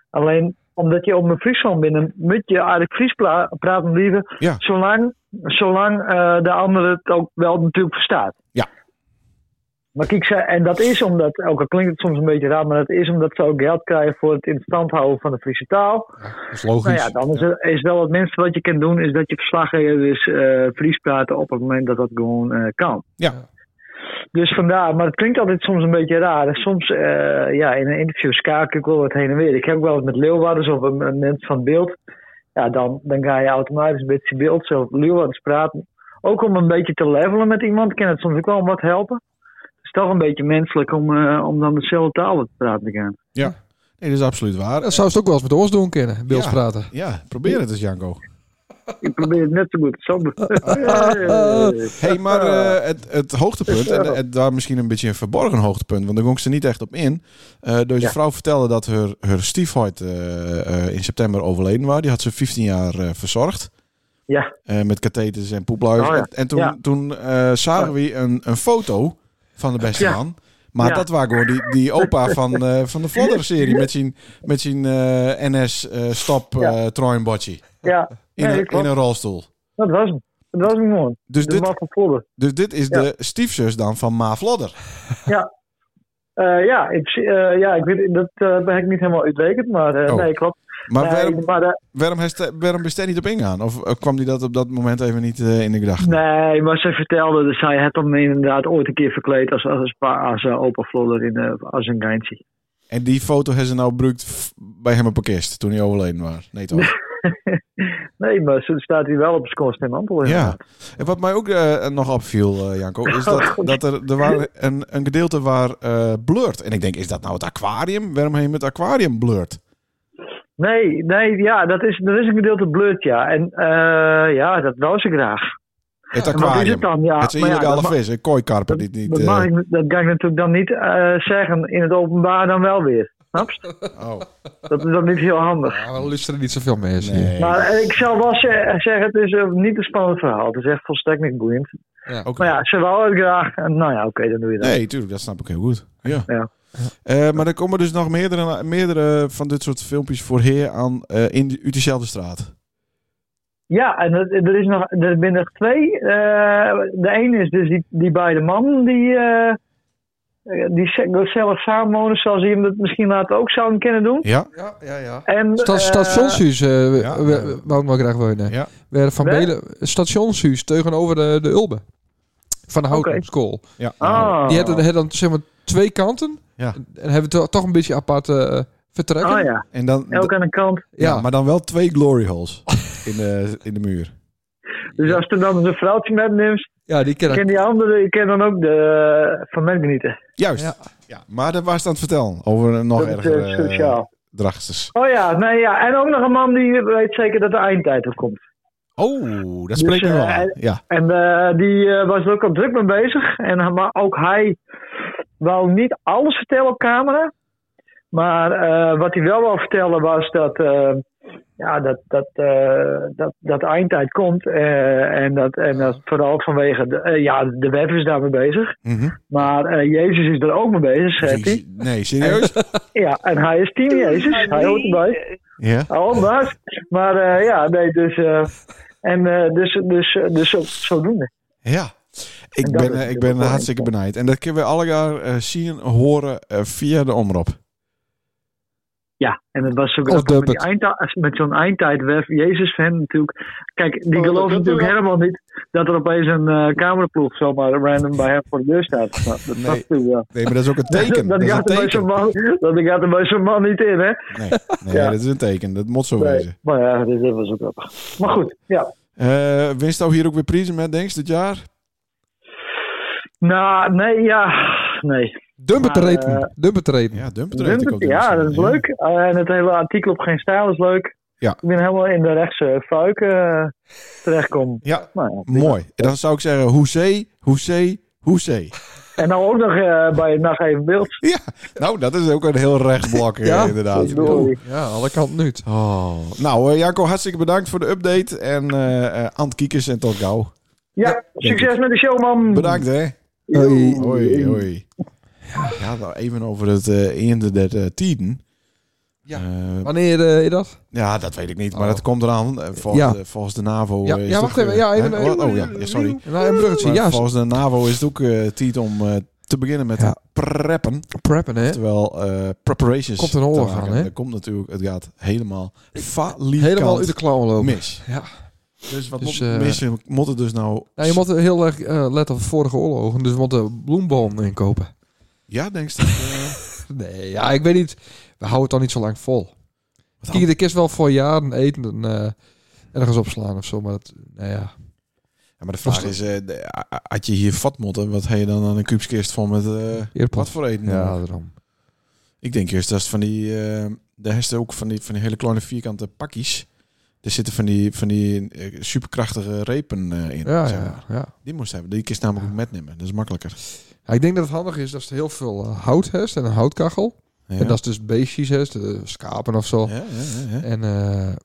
F: Alleen omdat je op een Friesland bent, moet je eigenlijk Fries pla- praten blijven.
A: Ja.
F: Zolang, zolang eh, de ander het ook wel natuurlijk verstaat.
A: Ja.
F: Maar kijk, ze- en dat is omdat, ook al klinkt het soms een beetje raar, maar dat is omdat ze ook geld krijgen voor het in stand houden van de Friese taal.
C: Dat is logisch.
F: Nou ja, dan is, het- is wel het minste wat je kunt doen, is dat je verslaggever is eh Fries praten op het moment dat dat gewoon eh, kan.
A: Ja.
F: Dus vandaar, maar het klinkt altijd soms een beetje raar. En Soms, eh, ja, in een interview schakel ik wel wat heen en weer. Ik heb ook wel eens met Leeuwarders of een, een mens van beeld. Ja, dan, dan ga je automatisch een beetje beeld zelf Leeuwarders praten. Ook om een beetje te levelen met iemand, kan het soms ook wel wat helpen. Het is toch een beetje menselijk om, eh, om dan dezelfde taal te praten te gaan.
A: Ja. Nee, dat is absoluut waar.
C: Dat zou ze ook wel eens met ons doen kunnen, Bils
A: Ja.
C: praten.
A: Ja, probeer het eens, Janko.
F: Ik probeer het net zo goed. Zo.
A: hey, maar eh, het, het hoogtepunt, en het, daar misschien een beetje een verborgen hoogtepunt, want daar ging ze niet echt op in. Eh deze
F: Ja.
A: vrouw vertelde dat haar, haar stiefheid eh, eh, in september overleden was. Die had ze 15 jaar eh, verzorgd.
F: Ja.
A: Eh, met katheters en poepluizen.
F: Oh ja.
A: En, en toen,
F: Ja.
A: toen eh, zagen we een, een foto van de beste
F: Ja.
A: man. Maar
F: Ja.
A: dat was gewoon die, die opa van, eh, van de Vlodder-serie met zijn, met zijn NS-stop
F: Ja.
A: eh troinbotje.
F: ja,
A: In,
F: Nee,
A: een,
F: klopt.
A: in een rolstoel.
F: dat was hem. Dat was hem gewoon.
A: Dus
F: Dus
A: dit,
F: maar van voren.
A: dus dit is
F: Ja.
A: de stiefzus dan van Ma Vlodder.
F: Eh, ja, ik, zie- eh, ja, ik weet, dat eh, ben ik niet helemaal uitwekend, maar eh,
A: Oh.
F: nee, klopt.
A: Maar
F: nee,
A: waarom,
F: maar, eh,
A: waarom, heeft, hij- waarom is hij niet op ingaan? Of eh, kwam die dat op dat moment even niet eh, in de gedachten?
F: nee, maar ze vertelde, dus zij had hem inderdaad ooit een keer verkleed als, als, als, pa- als eh, opa Flodder in, eh, als een geintje.
A: En die foto hebben ze nou gebruikt f- bij hem op een kist toen hij overleden was. Nee toch?
F: Nee, maar ze staat hier wel op zijn kost en antwoord.
A: Ja. En wat mij ook eh, nog opviel, eh, Janko, is dat, dat er, er waren een, een gedeelte waar eh blurt. En ik denk, is dat nou het aquarium? Waarom heen met het aquarium blurt?
F: Nee, nee, ja, dat is, dat is een gedeelte blurt, ja. En eh, ja, dat wou ze graag.
A: Het
F: En wat is
A: aquarium.
F: het dan? Ja,
A: Het is een
F: maar ja,
A: illegale
F: dat ma-
A: vis, een kooikarper.
F: dat-
A: Die, niet.
F: Dat,
A: eh,
F: mag ik, dat kan ik natuurlijk dan niet eh, zeggen in het openbaar dan wel weer. Snap je?
A: oh,
F: Dat is dan niet heel handig.
C: Ja, we luisteren niet zoveel mensen. hier.
A: nee.
F: Maar eh, ik zal wel ze- zeggen, het is eh, niet een spannend verhaal. Het is echt volstrekt niet boeiend.
C: Ja.
A: Oké.
F: Maar ja, ze wou het graag. En nou ja, oké, dan doe je dat.
A: Nee, tuurlijk, dat snap ik heel goed. Ja.
F: Ja.
A: Eh, maar er komen dus nog meerdere, meerdere van dit soort filmpjes voorheen aan eh, in de, uit diezelfde straat.
F: Ja, en er, er is nog, er zijn nog twee. Eh, de ene is dus die, die beide mannen die, eh, die ze- gezellig samenwonen, zoals je hem dat misschien later ook zouden kunnen doen.
A: Ja,
C: Ja, ja, ja.
F: En,
C: Sta-
F: eh,
C: stationshuis, eh, we-
A: ja,
C: we-
A: eh,
C: we- wou ik wel graag wonen.
A: Ja.
C: Werden van
F: Waar?
C: Belen, stationshuis tegenover de, de Ulbe. Van de Houten
F: Oké.
C: School.
A: ja.
F: ah,
C: Die hadden, hadden dan zeg maar twee kanten.
A: Ja.
C: En hebben to- toch een beetje apart eh, vertrekken.
F: ah ja,
A: En dan,
F: elk aan de kant.
A: ja.
C: Ja.
A: maar dan wel twee glory holes in de, in de muur.
F: Dus als er dan eens een vrouwtje metneemt,
C: Ja, die
F: ken
C: kennen.
F: die andere, je kan dan ook de, eh, van mij genieten.
A: Juist. Ja.
C: Ja.
A: maar dat was het aan het vertellen over een nog
F: Dat is eh,
A: erger
F: sociaal.
A: drachters.
F: Oh ja, nee, ja, en ook nog een man die weet zeker dat de eindtijd er komt.
A: Oh, dat spreekt
F: Dus,
A: me wel
F: eh,
A: aan. Ja,
F: En eh, die eh, was er ook al druk mee bezig. En, eh, maar ook hij wou niet alles vertellen op camera. Maar eh, wat hij wel wou vertellen was dat, eh, ja, dat, dat, eh, dat, dat de eindtijd komt. eh, en, dat, en dat vooral vanwege, de, eh, ja, de web is daarmee bezig.
A: Mhm.
F: Maar eh, Jezus is er ook mee bezig, zegt hij.
A: Nee, serieus?
F: Ja, en hij is team Jezus. Hij hoort erbij.
A: ja.
F: Oh, maar. Maar eh, ja, nee, dus. eh, en eh, dus, dus, dus, zo, zodoende.
A: Ja. Ik
F: En
A: ben,
F: dat
A: eh,
F: is
A: ik
F: natuurlijk
A: ben
F: wel
A: hartstikke benijd. En dat kunnen we alle jaar eh, zien, horen eh, via de omroep.
F: Ja, en het was ook
C: Of
F: ook met, die
C: dubbed.
F: eindta- met zo'n eindtijdweb, Jezus-fan natuurlijk. Kijk, die geloven natuurlijk helemaal niet dat er opeens een eh cameraploeg zomaar random bij hem voor de deur staat. Maar dat
A: Nee.
F: was toen, ja.
A: Nee, maar dat is ook een
F: Dat,
A: teken. dat
F: dat,
A: is een
F: gaat er bij zo'n
A: teken.
F: man, dat gaat er bij zo'n man niet in, hè?
A: Nee, nee
F: Ja.
A: dat is een teken. Dat moet zo
F: Nee.
A: wezen.
F: Maar ja, dit dit was ook grappig. Maar goed, ja.
A: Eh winst jou hier ook weer prijzen met, denk je, dit jaar?
F: Nou, nee, ja. Nee.
C: Dumper te
F: Maar,
C: reten.
F: eh,
C: Dumper te reten.
A: Ja, dumpen
F: Vindt het? ja, dat is leuk. Eh, en het hele artikel op Geen Stijl is leuk.
A: Ja.
F: Ik ben helemaal in de rechtse fuik eh terechtkom.
A: Ja,
F: Nou, ja.
A: mooi. En dan zou ik zeggen, hoezee, hoezee, hoezee.
F: En dan ook nog eh, bij Nacht Even Beeld.
A: Ja, nou, dat is ook een heel recht blok, eh,
C: Ja,
A: inderdaad.
F: Sorry.
C: Ja, alle kanten nu.
A: Oh. Nou, eh, Janko, hartstikke bedankt voor de update. En eh eh aan het kiekers en tot gauw.
F: Ja, succes met de show, man.
A: Bedankt, hè.
C: Hoi.
A: Hoi, hoi. Ja, nou even over het eh einde der eh, tiden.
C: Ja.
A: Eh,
C: Wanneer eh, is dat?
A: ja, dat weet ik niet, maar
C: Oh.
A: dat komt eraan. Eh, Volgens,
C: Ja.
A: de, volgens de NAVO.
C: Ja,
A: eh, is
C: ja,
A: het
C: wacht
A: ook,
C: even,
A: eh,
C: ja,
A: hè?
C: even-
A: Wat? oh ja, ja, sorry.
C: Nou, een bruggetje.
A: Maar
C: Ja,
A: volgens de NAVO is het ook eh, tijd om eh, te beginnen met
C: Ja.
A: preppen.
C: preppen, hè?
A: Terwijl eh, preparations.
C: Komt een
A: te
C: oorlog
A: maken.
C: aan, hè?
A: Er komt natuurlijk, het gaat helemaal falikant
C: Helemaal uit de klauwen lopen.
A: mis.
C: Ja.
A: Dus wat
C: Dus,
A: moet,
C: eh,
A: mensen moeten dus nou...
C: Nou, je moet heel erg eh, letten op vorige oorlogen. Dus we moeten bloemboom inkopen.
A: Ja, denk je dat... eh,
C: Nee, ja, ik weet niet. We houden het dan niet zo lang vol.
A: wat dan?
C: Kijk, ik is wel voor jaren eten en eh, ergens opslaan of zo. Maar dat, nou ja.
A: Ja, maar de vraag is, eh, de- a- a- had je hier vat moeten, wat heb je dan aan een kuubskist van met eh,
C: Eerpot.
A: wat voor eten?
C: Ja, daarom.
A: Ik denk eerst dat het van die, eh, daar heeft ook van die, van die hele kleine vierkante pakjes. Er zitten van die, van die eh, superkrachtige repen eh, in.
C: Ja,
A: zeg
C: ja,
A: maar.
C: ja, ja.
A: Die moest hebben. Die kist namelijk ook metnemen. Dat is makkelijker.
C: Ik denk dat het handig is dat ze heel veel eh, hout heeft en een houtkachel.
A: Ja.
C: En dat is dus beestjes heeft, eh, schapen of zo.
A: ja, ja, ja, ja.
C: En eh,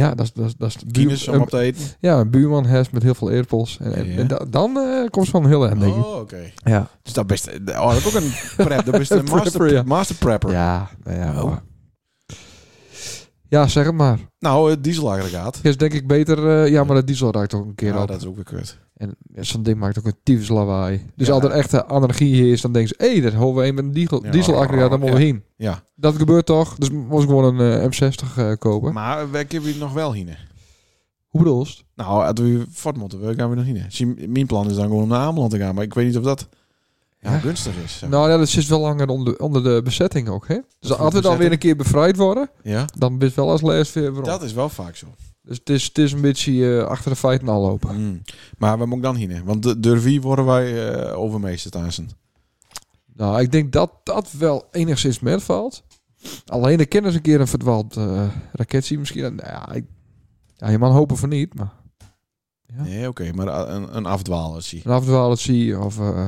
C: ja, dat is dat is- dat is de buur-
A: Kines om op te eten.
C: ja, een buurman heeft met heel veel eerpels. En, en,
A: Ja.
C: en da- dan eh, komt ze van heel erg, denk ik.
A: Oh, oké.
C: Ja.
A: Dus dat best... Oh, dat is ook een prep. Dat is een
C: Prepper, ja.
A: master, master prepper.
C: Ja, nou ja.
A: Oh.
C: maar- Ja, zeg het maar.
A: Nou, het dieselaggregaat.
C: Is denk ik beter... eh, ja, maar dat diesel raakt ook een keer
A: Ja,
C: op.
A: Ah, dat is ook weer kut.
C: En zo'n ding maakt ook een tyfus lawaai. Dus
A: Ja.
C: als er echte anarchie hier is, dan denken ze... Hé, dat houden we een met een diesel,
A: Ja.
C: dieselaggregaat, daar moeten we
A: Ja.
C: heen.
A: Ja.
C: Dat gebeurt toch? Dus moest ik gewoon een eh, M60 eh, kopen.
A: Maar we hebben hier nog wel heen.
C: Hoe bedoel je het?
A: Nou, als we voort moeten, we gaan we nog heen. Zie, Mijn plan is dan gewoon om naar Ameland te gaan. Maar ik weet niet of dat ja,
C: Ja.
A: gunstig is. zeg.
C: Nou ja, dat zit wel langer onder, onder de bezetting ook, hè? Dus
A: voor
C: als we dan
A: bezetting?
C: weer een keer bevrijd worden,
A: Ja,
C: dan best wel als lees weer waarom.
A: dat is wel vaak zo.
C: Dus het is, het is een beetje eh, achter de feiten al lopen.
A: Mm. Maar we moeten dan heen. Want de- door wie worden wij eh overmeesterd aan zijn?
C: Nou, ik denk dat dat wel enigszins metvalt. Alleen de kinderen een keer een verdwaald eh raket zien misschien. Nou ja, ik, ja, je man hopen van niet, maar... Ja.
A: Nee, oké. maar a- een, een afdwaler zie.
C: Een afdwalend zie je of, eh,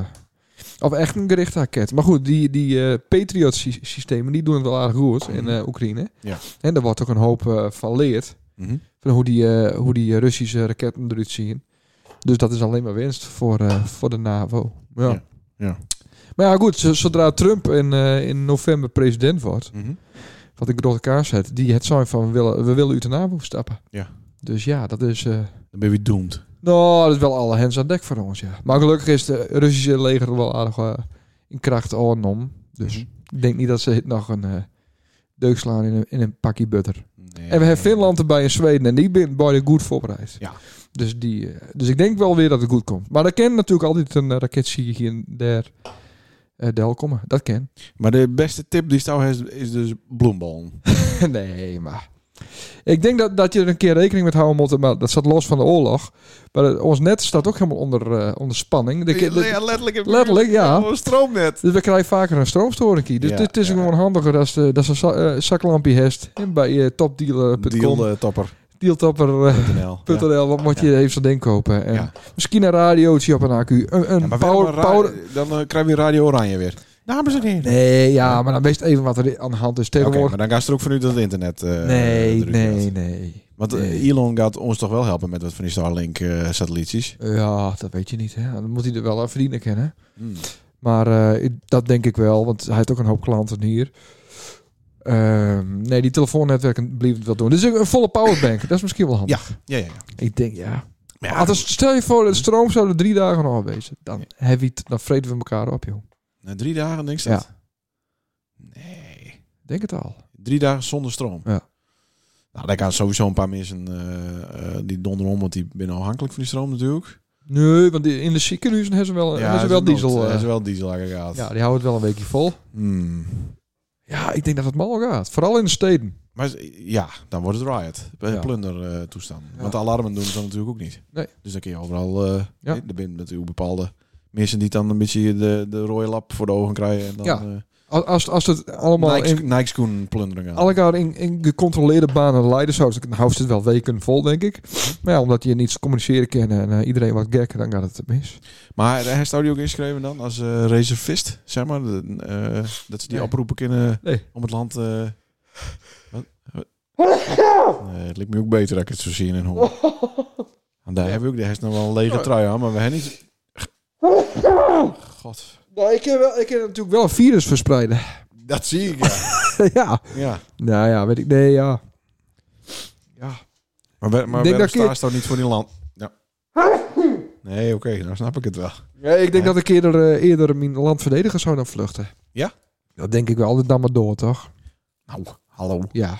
C: of echt een gerichte raket. Maar goed, die, die eh, Patriot-systemen die doen het wel aardig goed in eh, Oekraïne.
A: Mhm. Ja.
C: En daar wordt ook een hoop eh, van leerd.
A: Mhm.
C: Van hoe die, eh, hoe die Russische raketten eruit zien. Dus dat is alleen maar winst voor, eh, voor de NAVO. Ja.
A: Ja, ja.
C: Maar ja, goed, z- zodra Trump in, eh, in november president wordt,
A: Mhm.
C: wat ik grote kaars zet, die het zijn van we willen, we willen uit de NAVO stappen.
A: Ja.
C: Dus ja, dat is. eh,
A: Dan ben je doemd.
C: nou, dat is wel alle hands aan dek voor ons, ja. Maar gelukkig is de Russische leger wel aardig eh, in kracht om. Dus
A: Mhm.
C: ik denk niet dat ze het nog een eh, deuk slaan in een, in een pakje butter.
A: Nee.
C: En we hebben Finland erbij en Zweden en die zijn beide goed voorbereid.
A: Ja.
C: Dus, die, eh, dus ik denk wel weer dat het goed komt. Maar dat kan natuurlijk altijd een eh, raket zie je hier en daar. eh del komen, dat kan.
A: Maar de beste tip die Stouw heeft is dus bloembal.
C: nee, maar... Ik denk dat, dat je er een keer rekening mee houden moet, maar dat staat los van de oorlog. Maar eh, ons net staat ook helemaal onder, eh, onder spanning. De, de-
A: Ja, letterlijk. heb je-
C: Letterlijk, ja.
A: Oh, Een stroomnet.
C: Dus we krijgen vaker een stroomstoring. Dus
A: Ja,
C: dit is
A: ja.
C: gewoon handiger als de, dat ze een za- eh, zaklampje heeft. En bij eh, topdealer.com,
A: Dealtopper.nl.
C: dealtopper.nl,
A: Ja.
C: wat moet je even zo'n ding kopen. En
A: Ja.
C: Misschien een radiootje op een accu. Een, een
A: Ja, maar
C: power,
A: waarom een ra-
C: power-
A: dan eh, krijg je Radio Oranje weer. Dames en heren.
C: Nee, ja, maar dan wees even wat er aan de hand is
A: Oké,
C: tegenwoordig.
A: maar dan gaan ze er ook vanuit dat het internet... eh,
C: nee,
A: eruit
C: nee,
A: gaat.
C: nee.
A: Want eh,
C: Nee.
A: Elon gaat ons toch wel helpen met wat van die eh, Starlink-satellietjes.
C: Ja, dat weet je niet. Hè. Dan moet hij er wel aan verdienen kennen. Maar eh, ik- dat denk ik wel, want hij heeft ook een hoop klanten hier. Ehm, nee, die telefoonnetwerken blijven het wel doen. Dus een een volle powerbank, dat is misschien wel handig.
A: Ja, ja, ja.
C: Ik denk, ja.
A: Maar ja,
C: Als het- stel je voor, de stroom zou er drie dagen nog wezen. Dan, heb je het, dan vreten we elkaar op, joh.
A: na drie dagen denk ik dat. Nee.
C: Denk het al.
A: Drie dagen zonder stroom.
C: Ja.
A: Nou, daar gaan sowieso een paar mensen eh, eh, die donderen om, want die zijn afhankelijk van die stroom natuurlijk.
C: Nee, want in de ziekenhuizen hebben ze wel, hebben ze
A: is
C: wel
A: een nood.
C: diesel.
A: Ja,
C: eh,
A: is wel dieselaggregaat.
C: ja, die houden het wel een weekje vol.
A: Hmm.
C: Ja, ik denk dat het mal gaat. Vooral in de steden.
A: Maar z- ja, dan wordt het riot. Bij
C: Ja.
A: plunder eh toestand.
C: Ja.
A: Want de alarmen doen ze dan natuurlijk ook niet.
C: Nee.
A: Dus dan kun je overal... eh
C: Ja.
A: Er zijn natuurlijk bepaalde mensen die dan een beetje de, de rode lap voor de ogen krijgen. En dan,
C: Ja.
A: eh,
C: Als, als, als het allemaal
A: Nike,
C: in,
A: Nike schoen plunderen gaan.
C: elkaar in, in gecontroleerde banen leiden zou, dan houdt ze het wel weken vol, denk ik. Maar ja, omdat je niet communiceren kan en eh, iedereen wat gek, dan gaat het mis.
A: Maar hij staat die ook ingeschreven dan als eh, reservist, zeg maar. De- eh, dat ze die
C: Nee.
A: oproepen kunnen
C: Nee.
A: om het land... eh, wat? Wat? Nee, het lijkt me ook beter dat ik het zo zie en hoor. En daar hebben we ook... Hij heeft nog wel een lege trui aan, maar we hebben niet... God,
C: Nou, ik kan, wel, ik kan natuurlijk wel een virus verspreiden.
A: dat zie ik, ja.
C: ja.
A: Ja.
C: Nou ja, weet ik. Nee, ja. Ja.
A: Maar, wer- maar
C: Ik denk
A: waarom
C: dat ik-
A: staat niet voor die land? Ja. Nee, oké, nou snap ik het wel.
C: ik denk
A: Nee.
C: dat ik eerder, eh, eerder mijn land verdedigen zou dan vluchten.
A: Ja?
C: Dat denk ik wel. Altijd dan maar door, toch?
A: Nou, hallo.
C: Ja.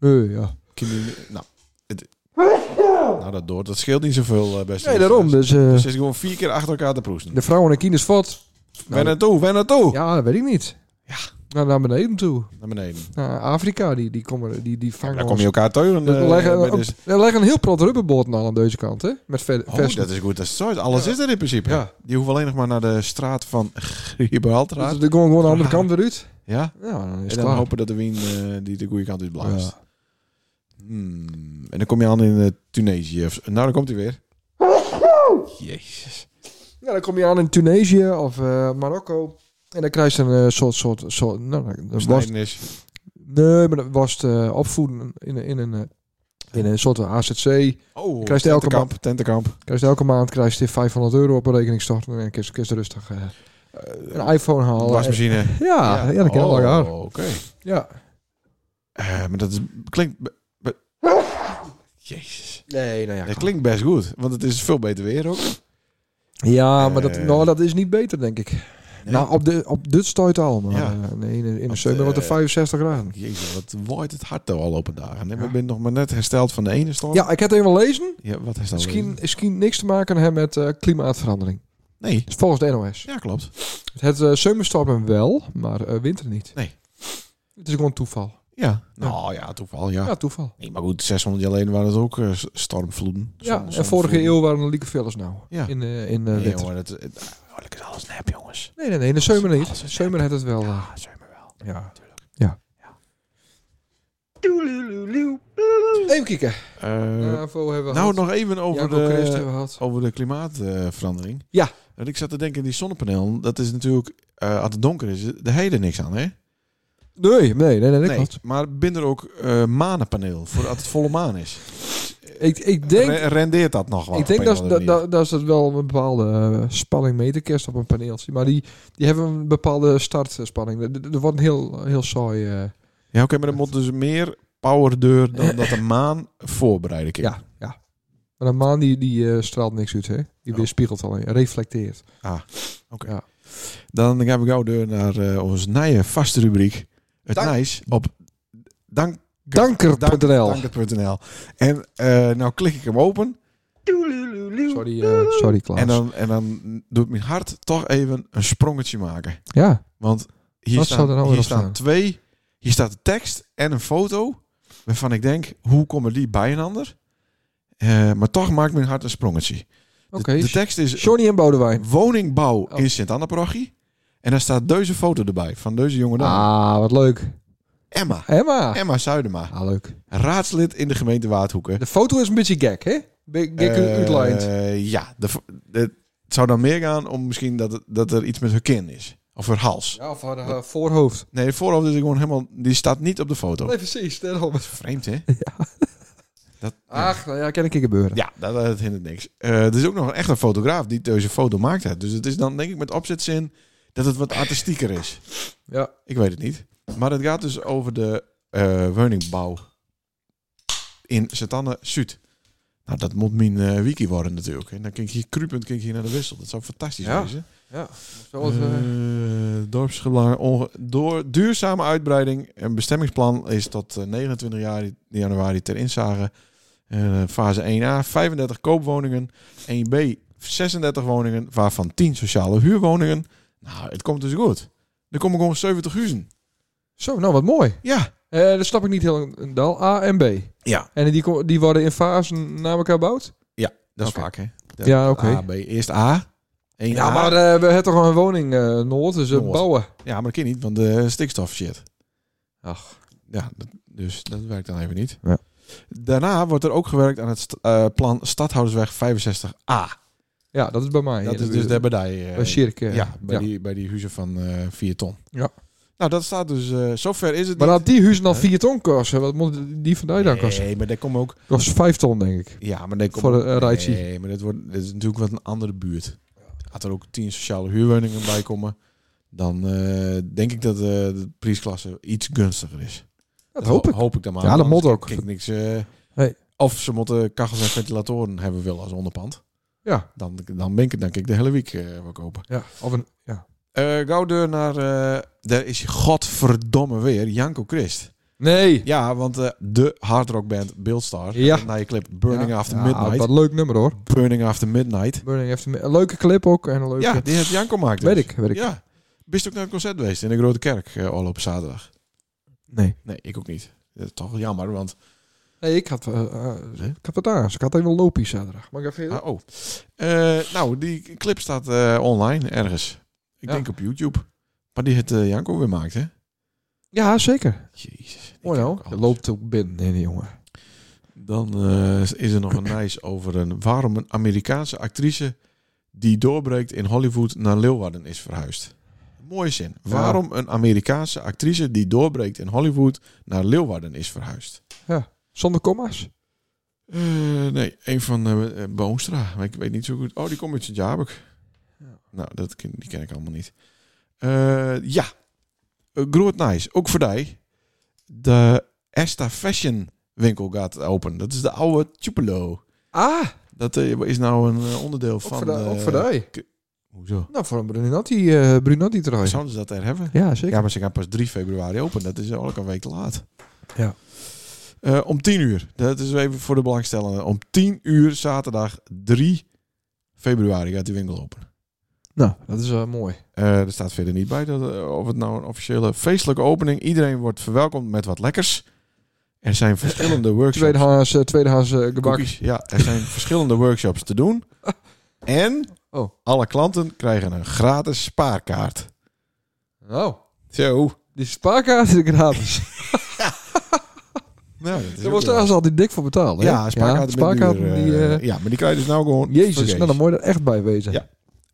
C: Eh, ja.
A: Kimi- Nou, het, nou, dat door. Dat scheelt niet zoveel, eh best.
C: Nee, daarom. Dus
A: Ze
C: eh,
A: zit gewoon vier keer achter elkaar te proesten.
C: de vrouwen en kines fot.
A: Waar naartoe? Waar naartoe?
C: Ja, dat weet ik niet.
A: Ja.
C: Nou, naar beneden toe.
A: Naar beneden.
C: Naar Afrika, die, die, komen, die, die vangen
A: Dan kom
C: ons.
A: je elkaar teuren.
C: Dus we
A: eh,
C: leggen,
A: bij
C: ook-
A: deze-
C: we leggen een heel plat rubberboten aan aan deze kant, hè? Met ver,
A: Oh,
C: vers-
A: dat is goed. Dat is zo. Alles is er in principe.
C: Ja.
A: Die hoeven alleen nog maar naar de straat van Gibraltar.
C: Dus dan gaan we gewoon de andere kant weer uit.
A: Ja.
C: Ja, dan is
A: En
C: het
A: dan
C: klaar.
A: hopen dat de wind eh, die de goede kant uit blaast.
C: Ja.
A: Hmm. En dan kom je aan in eh, Tunesië. of- Nou, dan komt hij weer. Jezus.
C: Ja, dan kom je aan in Tunesië of eh, Marokko. En dan krijg je een eh, soort, soort, soort... Nou, dan was,
A: Besnijdenis.
C: nee, maar dat was het eh, opvoeden in, een- in, een, eh, in een soort AZC.
A: Oh,
C: Krijgt elke
A: tentenkamp, tentenkamp.
C: Krijg je elke maand krijg je 500 euro op een rekening storten. En dan kun je- kun je rustig eh, een iPhone halen.
A: Wasmachine.
C: Ja, ja. dat kan wel
A: oh,
C: elkaar.
A: Oké.
C: Ja.
A: Eh, maar dat is, klinkt... be- be- Jezus.
C: Nee, nou
A: Dat klinkt best goed. Want het is veel beter weer ook.
C: Ja, maar dat,
A: Eh.
C: nou, dat is niet beter, denk ik. Nou, op, de, op dit stuit al, maar
A: Ja.
C: eh, nee, in, de- in de
A: Op
C: zomer
A: de-
C: wordt het 65 graden.
A: Jezus, wat waait het hard al open dagen. En we zijn nog maar net hersteld van de ene storm.
C: Ja, ik heb het even lezen.
A: Ja, wat is dat?
C: Misschien, misschien niks te maken hebben met eh, klimaatverandering.
A: Nee.
C: Dat is volgens de NOS.
A: Ja, klopt.
C: Het eh zomerstormen wel, maar eh, winter niet.
A: Nee.
C: Het is gewoon toeval.
A: Ja. Nou ja, toeval, ja.
C: Ja, toeval.
A: Nee, maar goed, 600 jaar geleden waren het ook eh, s- stormvloeden.
C: Ja, en vorige eeuw waren er lieke vellers nou.
A: Ja.
C: In, eh in eh,
A: Nee,
C: winter.
A: jongen, dat, het, eigenlijk is alles nep, jongens.
C: Nee, nee, nee. In de zomer niet.
A: Alles
C: De
A: is
C: zomer had het wel. eh,
A: Ah, zeg maar wel.
C: ja. Ja. Even kijken.
A: Eh,
C: NAVO hebben we
A: nou,
C: gehad.
A: nog even over
C: Jacob Christ
A: de...
C: hebben we gehad.
A: Over de klimaatverandering.
C: Ja.
A: Want ik zat te denken, die zonnepanelen, dat is natuurlijk, eh, als het donker is, daar heb je er niks aan, hè?
C: Nee, nee, nee, nee, dat klopt.
A: Maar binnen er ook eh, manenpaneel, voor als het volle maan is.
C: Ik, ik denk,
A: Re- rendeert dat nog wel?
C: ik denk
A: op een
C: dat,
A: of
C: dat,
A: andere
C: dat, dat ze het wel een bepaalde eh, spanning mee te kerst op een paneeltje. Maar die, die hebben een bepaalde startspanning. Er- Er er wordt een heel, heel saai... eh,
A: manier? Ja, oké, maar er moet dus meer power door dan dat de maan voorbereiden kan.
C: ja, ja. Maar een maan die, die eh, straalt niks uit, hè? Die
A: Oh.
C: weerspiegelt alleen, reflecteert.
A: Dan gaan we gauw door naar eh, onze nieuwe vaste rubriek. Het
C: Dank-
A: Nijs op dank, dank-
C: Danker.nl.
A: danker.nl. En eh, nou klik ik hem open
C: Sorry, eh, sorry Klaas.
A: en dan, en dan doet mijn hart toch even een sprongetje maken.
C: ja,
A: Want hier,
C: Wat zou er nou
A: staan,
C: weer
A: hier
C: op
A: staan
C: staan?
A: twee. Hier staat de tekst en een foto. Waarvan ik denk, hoe komen die bij een ander? Eh, maar toch maakt mijn hart een sprongetje. De,
C: oké.
A: de tekst is eh,
C: Johnny en Bodewijn.
A: woningbouw
C: Oh.
A: in sint anna parochie En daar staat deze foto erbij van deze jongen dan.
C: Ah, wat leuk.
A: Emma.
C: Emma.
A: Emma Zuidema.
C: Ah, leuk.
A: Raadslid in de gemeente Waardhoeken.
C: De foto is een beetje gek, hè? Be- Gek
A: Eh,
C: uitlijnd.
A: ja, de, de- het zou dan meer gaan om misschien dat, het- dat er iets met haar kin is. Of haar hals.
C: Ja, of haar eh, voorhoofd.
A: Nee, het voorhoofd is gewoon helemaal... Die staat niet op de foto.
C: Nee, precies. Daarom.
A: Vreemd, hè? Dat,
C: Ach, nou ja, kan ik gebeuren.
A: Ja, dat, dat hindert niks. Eh, er is ook nog echt een fotograaf die deze foto maakt. Hè. Dus het is dan denk ik met opzetzin dat het wat artistieker is.
C: Ja.
A: Ik weet het niet. Maar het gaat dus over de eh, woningbouw in Satanne Zuid. Nou, dat moet mijn eh, wiki worden natuurlijk. En dan kan ik hier krupend kan ik hier naar de wissel. Dat zou fantastisch
C: Ja.
A: wezen.
C: Ja,
A: Eh, dorpsbelang, onge- door duurzame uitbreiding. Een bestemmingsplan is tot eh, 29 januari, januari ter inzage. Eh, fase 1a, 35 koopwoningen. 1b, 36 woningen, waarvan 10 sociale huurwoningen. Nou, het komt dus goed. Er komen gewoon 70 huizen.
C: Zo, nou wat mooi.
A: Ja.
C: Eh dat snap ik niet heel een dal. A en B.
A: Ja.
C: En die, ko- die worden in fasen na elkaar gebouwd?
A: Dat is
C: Oké.
A: vaak, hè? Dat-
C: Ja, oké.
A: A, B. Eerst A. 1A.
C: Ja, maar eh, we hebben toch al een woning eh Noord, dus eh,
A: Noord.
C: bouwen.
A: ja, maar dat kan niet, want de stikstof shit.
C: Ach.
A: Ja, dat, dus dat werkt dan even niet.
C: Ja.
A: Daarna wordt er ook gewerkt aan het st- eh, plan Stadhoudersweg 65A.
C: Ja, dat is bij mij.
A: dat
C: in
A: is
C: de
A: dus
C: buurt.
A: daar bij die, eh,
C: Bij Sjerk, eh,
A: ja, bij,
C: ja.
A: Die, bij die huizen van eh 4 ton.
C: Ja.
A: Nou, dat staat dus... eh zover is het
C: Maar
A: niet.
C: laat die huizen dan 4 ton kosten. Wat moet die van daar dan kosten?
A: Nee, maar daar komen ook...
C: Kost 5 ton, denk ik.
A: Ja, maar daar komen
C: Voor een, eh, rijtje.
A: Nee, maar dat, wordt, dat is natuurlijk wat een andere buurt. Had er ook tien sociale huurwoningen bij komen. dan eh, denk ik dat eh, de prijsklasse iets gunstiger is.
C: Dat hoop ik.
A: Hoop ik dan maar.
C: Ja, dat
A: Anders
C: moet ook.
A: kijk ik niks, eh,
C: Nee.
A: Of ze moeten kachels en ventilatoren hebben willen als onderpand.
C: Ja.
A: Dan, dan ben ik het denk ik de hele week eh wel kopen.
C: Ja, of een, ja.
A: Eh gauw deur naar... eh, daar is hij godverdomme weer. Janko Christ.
C: Nee.
A: Ja, want eh, de hardrockband Beeldstar.
C: Ja.
A: Naar je clip Burning
C: Ja.
A: After
C: Ja,
A: Midnight.
C: Wat een leuk nummer hoor.
A: Burning After Midnight.
C: Burning heeft een een leuke clip ook. En een leuke...
A: Ja, die heeft Janko gemaakt. dus.
C: weet ik, weet ik.
A: Ja. Bist ook naar het concert geweest in de Grote Kerk eh al op zaterdag?
C: Nee.
A: Nee, ik ook niet. Dat is toch jammer, want...
C: Nee, ik had, eh eh, ik had het aan. Ik had even loopie zaterdag. Maar ik even...
A: Ah, oh. Eh, nou, die clip staat eh, online ergens. Ik
C: Ja.
A: denk op YouTube. Maar die het eh, Janko weer maakt, hè?
C: Ja, zeker.
A: Jezus. ik
C: Mooi
A: heb ook
C: nou. Je
A: alles.
C: loopt ook binnen, nee, nee, jongen.
A: Dan eh, is er nog een nice over een... Waarom een Amerikaanse actrice die doorbreekt in Hollywood naar Leeuwarden is verhuisd. Mooie zin. Waarom een Amerikaanse actrice die doorbreekt in Hollywood naar Leeuwarden is verhuisd.
C: Zonder komma's?
A: Eh, nee, een van eh, eh, Boomstra. Maar ik weet niet zo goed. Oh, die komt uit Jabek.
C: Ja.
A: Nou, dat ken, die ken ik allemaal niet. Eh, ja, Eh, groot nice. Ook voor die. De Esta Fashion winkel gaat open. Dat is de oude Tupelo.
C: Ah,
A: Dat eh, is nou een eh, onderdeel
C: ook
A: van...
C: voor, de,
A: eh,
C: ook voor die.
A: Hoezo?
C: Nou, voor een Brunotti, eh Brunotti trui.
A: Zouden ze dat er hebben?
C: Ja, zeker.
A: Ja, maar ze gaan pas 3 februari open. Dat is ook een week te laat.
C: Ja.
A: Eh, om 10 uur. Dat is even voor de belangstellenden. Om 10 uur zaterdag 3 februari gaat die winkel open.
C: Nou, dat is eh, mooi.
A: Eh, er staat verder niet bij dat, eh, of het nou een officiële feestelijke opening. Iedereen wordt verwelkomd met wat lekkers. Er zijn verschillende workshops.
C: Tweedehands, eh, tweedehands eh, gebak.
A: Cookies. Ja, er zijn verschillende workshops te doen. En
C: Oh.
A: alle klanten krijgen een gratis spaarkaart.
C: Nou,
A: Zo.
C: die spaarkaart is gratis.
A: Nou, dat is
C: Daar
A: ook
C: was trouwens altijd dik voor betalen. hè?
A: Ja, spaarkaarten. met
C: spaarkaarten
A: duur,
C: die...
A: eh,
C: eh,
A: ja, maar die krijg je dus nou gewoon.
C: Jezus,
A: vergeefs.
C: nou dan moet je er echt bij wezen.
A: Ja.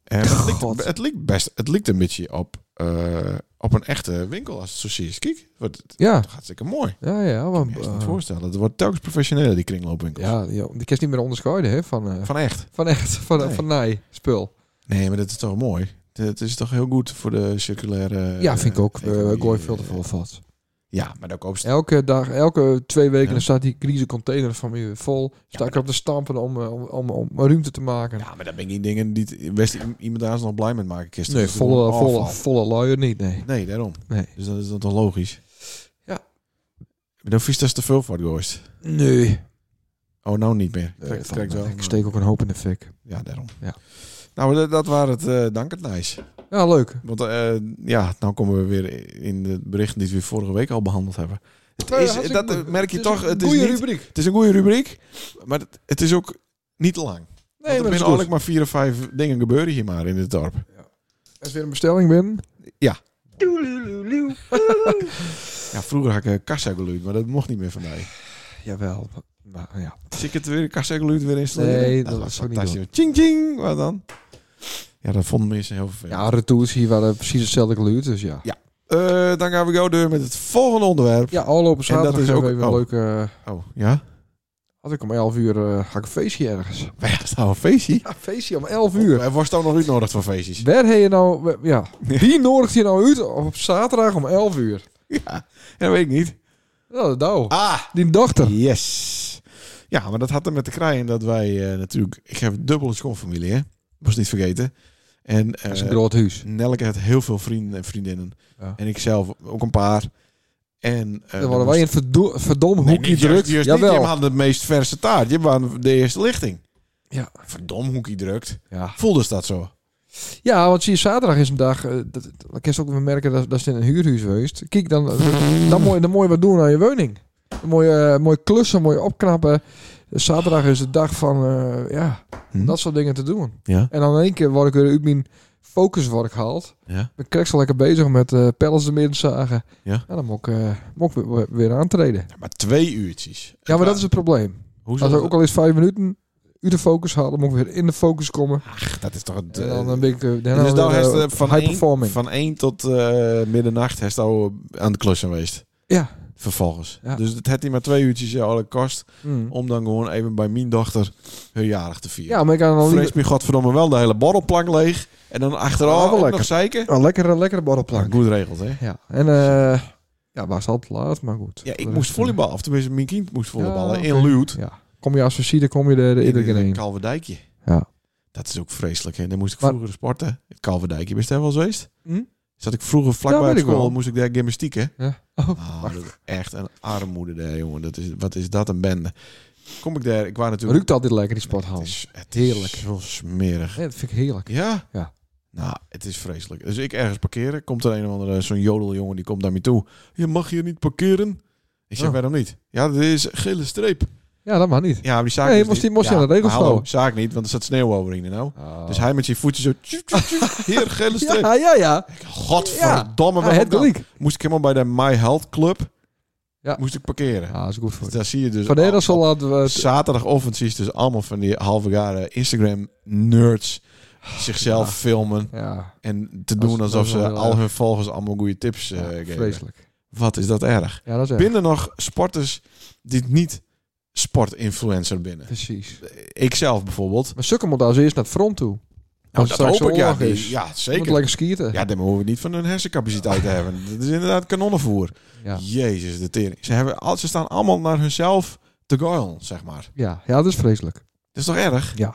A: Eh, maar het,
C: Oh, God.
A: lijkt, het lijkt best. Het lijkt een beetje op, eh, op een echte winkel als het zo zie is. Kijk, wat het
C: Ja,
A: gaat zeker mooi.
C: ja, ja.
A: Ik
C: Maar,
A: kan me echt niet
C: eh,
A: voorstellen. Het wordt telkens professioneler die kringloopwinkels.
C: ja, ja, die kan je niet meer onderscheiden hè, van, eh, van,
A: Van echt.
C: echt, van,
A: Nee.
C: van naai spul.
A: Nee, maar dat is toch mooi. Het is toch heel goed voor de circulaire.
C: ja, vind ik ook.
A: eh, economie.
C: eh gooi veel te veel vat.
A: Ja, maar dan koop ze.
C: Elke dag, elke twee weken,
A: Ja.
C: dan staat die grieze container van me vol. Sta ik op de stampen om, eh, om, om, om ruimte te maken.
A: Ja, maar dat ben ik niet dingen die best iemand daar is nog blij met maken. Kisten.
C: nee,
A: Dat is gewoon
C: volle, volle,
A: afval.
C: volle luier niet, nee.
A: Nee, daarom.
C: Nee.
A: Dus dat is dan toch logisch.
C: Ja.
A: Maar dan vies dat te veel voor geweest.
C: Nee.
A: Oh, nou niet meer.
C: Eh,
A: Kijk,
C: van-
A: kijk wel.
C: ik steek ook een hoop in de fik.
A: Ja, daarom.
C: Ja.
A: Nou, dat, dat waren het eh dank het nice.
C: Ja, leuk.
A: Want eh, ja, nou komen we weer in de berichten die we vorige week al behandeld hebben. Het
C: Nou ja,
A: is,
C: hartstikke
A: dat
C: leuk.
A: merk je
C: Het
A: toch.
C: een
A: Het is,
C: goeie
A: niet,
C: rubriek.
A: het is een goede rubriek, maar het, het is ook niet te lang.
C: Nee,
A: Want er
C: maar dat is,
A: binnen
C: goed.
A: eigenlijk maar vier of vijf dingen gebeuren hier maar in het dorp.
C: Als weer een bestelling binnen.
A: Ja, vroeger had ik eh, kassageluid, maar dat mocht niet meer van mij.
C: Jawel. Maar, Nou, ja.
A: Zie ik het weer kassageluid weer installeren?
C: Nee, dat
A: was
C: was ook niet
A: fantastisch. Ching, ching, wat dan? Ja, dat vonden mensen heel vervelend.
C: ja, retours hier waren precies hetzelfde geluid, dus ja.
A: Ja. Eh, dan gaan we gauw door met het volgende onderwerp.
C: Ja, al lopen
A: En dat
C: zaterdag
A: is
C: hebben we
A: ook-
C: even een
A: oh.
C: leuke... eh,
A: Oh, ja?
C: had ik om 11 uur eh had ik een feestje ergens.
A: Wij gaan nou een feestje.
C: Ja, feestje om 11 uur.
A: Er wordt ook nog uitnodigd voor feestjes.
C: Waar heb je nou... Ja, wie nodigt je nou uit op zaterdag om 11 uur?
A: Ja, dat weet ik niet.
C: Nou, dat nou.
A: Ah,
C: Die dochter.
A: yes. Ja, maar dat had er met te krijgen dat wij eh, natuurlijk... Ik heb dubbele schoonfamilie, hè. Moest niet vergeten. En
C: Dat is
A: eh
C: een groot huis.
A: Nelke had heel veel vrienden en vriendinnen.
C: Ja.
A: En ik zelf ook een paar. En, eh,
C: Dan worden wij in het verdo- verdom
A: Nee,
C: hoekje
A: niet juist-
C: drukt.
A: juist niet.
C: Jawel.
A: Jim had de meest verse taart. Jim waren de eerste lichting.
C: Ja.
A: Verdom hoekie drukt.
C: Ja.
A: Voelde ze dat zo?
C: ja, want zie je, zaterdag is een dag... eh, dat, dat- dan kun je ook weer merken dat, dat ze in een huurhuis geweest. Kijk, dan, dan, moet je, dan moet je wat doen aan je woning. Dan moet je, eh, moet je klussen, moet je opknappen. Zaterdag is de dag van... eh, ja,
A: Hm?
C: dat soort dingen te doen.
A: Ja.
C: En dan in één keer word ik weer uit mijn focus word ik gehaald.
A: Ja.
C: Ik kreeg ze lekker bezig met eh pellets ermee zagen.
A: Ja.
C: En dan moet ik, eh, moet ik weer- weer, weer aantreden.
A: Maar twee uurtjes.
C: Ja, maar dat is het probleem.
A: Hoezo?
C: Als ik ook al eens vijf minuten uit de focus halen, moet ik weer in de focus komen.
A: Dat is toch... het,
C: en
A: eh,
C: dan, ben ik eh, dan
A: dus
C: dan
A: daar
C: weer,
A: is
C: eh,
A: de- van
C: high
A: één-
C: performing.
A: Van 1 tot eh, middernacht is hij al aan de klus geweest.
C: Ja.
A: vervolgens.
C: Ja.
A: Dus het had hij maar twee uurtjes ja, alle kost
C: Hm.
A: om dan gewoon even bij mijn dochter hun jarig te vieren.
C: Ja, maar ik kan al
A: Vrees me godverdomme wel de hele borrelplank leeg en dan
C: Ja, wel
A: achteraf ook
C: lekker.
A: nog zeiken.
C: Een lekkere, lekkere borrelplank.
A: Goed regeld, hè?
C: Ja, en eh ja, was al te laat, maar goed.
A: Ja, ik
C: Dat
A: moest
C: is-
A: volleyballen. Of tenminste, mijn kind moest volleyballen.
C: Ja,
A: In
C: oké.
A: Luwt.
C: Ja. Kom je als visite, kom je er de
A: In
C: iedereen
A: een
C: in.
A: Kalverdijkje.
C: Ja.
A: Dat is ook vreselijk, hè? Daar moest ik
C: Maar-
A: vroeger sporten. Het Kalverdijkje, ben je daar wel eens geweest?
C: Hm?
A: Zat ik vroeger
C: Ja,
A: vlakbij
C: weet
A: op
C: ik wel.
A: school, moest ik daar gymnastiek, hè?
C: Ja. Oh,
A: Ah, dat is echt een armoede daar, jongen. Dat is, wat is dat een bende. Kom ik daar, ik was natuurlijk...
C: ruikt altijd lekker, die
A: Het
C: sporthal.
A: is, het
C: Heerlijk.
A: heerlijk. zo smerig.
C: Ja, dat vind ik heerlijk.
A: Ja?
C: Ja.
A: Nou, het is vreselijk. Dus ik ergens parkeren, komt er een of andere zo'n jodeljongen, die komt naar me toe. Je mag hier niet parkeren. Ik zeg,
C: Oh.
A: waarom niet? Ja, dit is gele streep.
C: Ja, dat mag niet.
A: Ja, maar die zaak
C: Nee,
A: is
C: moest
A: niet-
C: die- moest die aan de regels
A: maar hallo,
C: houden.
A: zaak niet, want er zat sneeuw overheen nou. Dus
C: Ah.
A: hij met zijn voetje zo... tjoep, tjoep, tjoep, Hier, gele streep.
C: Ja, ja, ja.
A: Godverdomme,
C: Hij
A: wat
C: het
A: dan?
C: gelijk.
A: Moest ik helemaal bij de My Health Club
C: Ja. Ah,
A: moest ik parkeren.
C: Ja, dat is goed voor
A: Dus
C: je.
A: daar zie je dus...
C: Vandaar dat
A: al-
C: ze laten we het...
A: Zaterdagochtend zie je dus allemaal van die halve jaren Instagram-nerds zichzelf filmen
C: Ja,
A: en te
C: Dat is-
A: doen
C: dat
A: alsof
C: is wel
A: ze
C: heel
A: al
C: erg.
A: hun volgers allemaal goede tips eh,
C: ja,
A: geven.
C: vreselijk.
A: Wat is dat erg.
C: Ja, dat is echt.
A: Binnen nog sporters die niet sportinfluencer binnen.
C: Precies.
A: Ikzelf bijvoorbeeld.
C: Maar sukken moet als eerst naar het front toe.
A: Nou,
C: Als het straks
A: Ja,
C: oorlog
A: die-
C: is.
A: ja,
C: Moet
A: zeker.
C: lekker skieten.
A: Ja, daar hoeven we niet van hun hersencapaciteit te hebben. Dat is inderdaad kanonnenvoer.
C: Ja.
A: Jezus, de tering. Ze, hebben, al- ze staan allemaal naar hunzelf te goilen, zeg maar.
C: Ja, ja, dat is vreselijk.
A: Dat is toch erg?
C: Ja.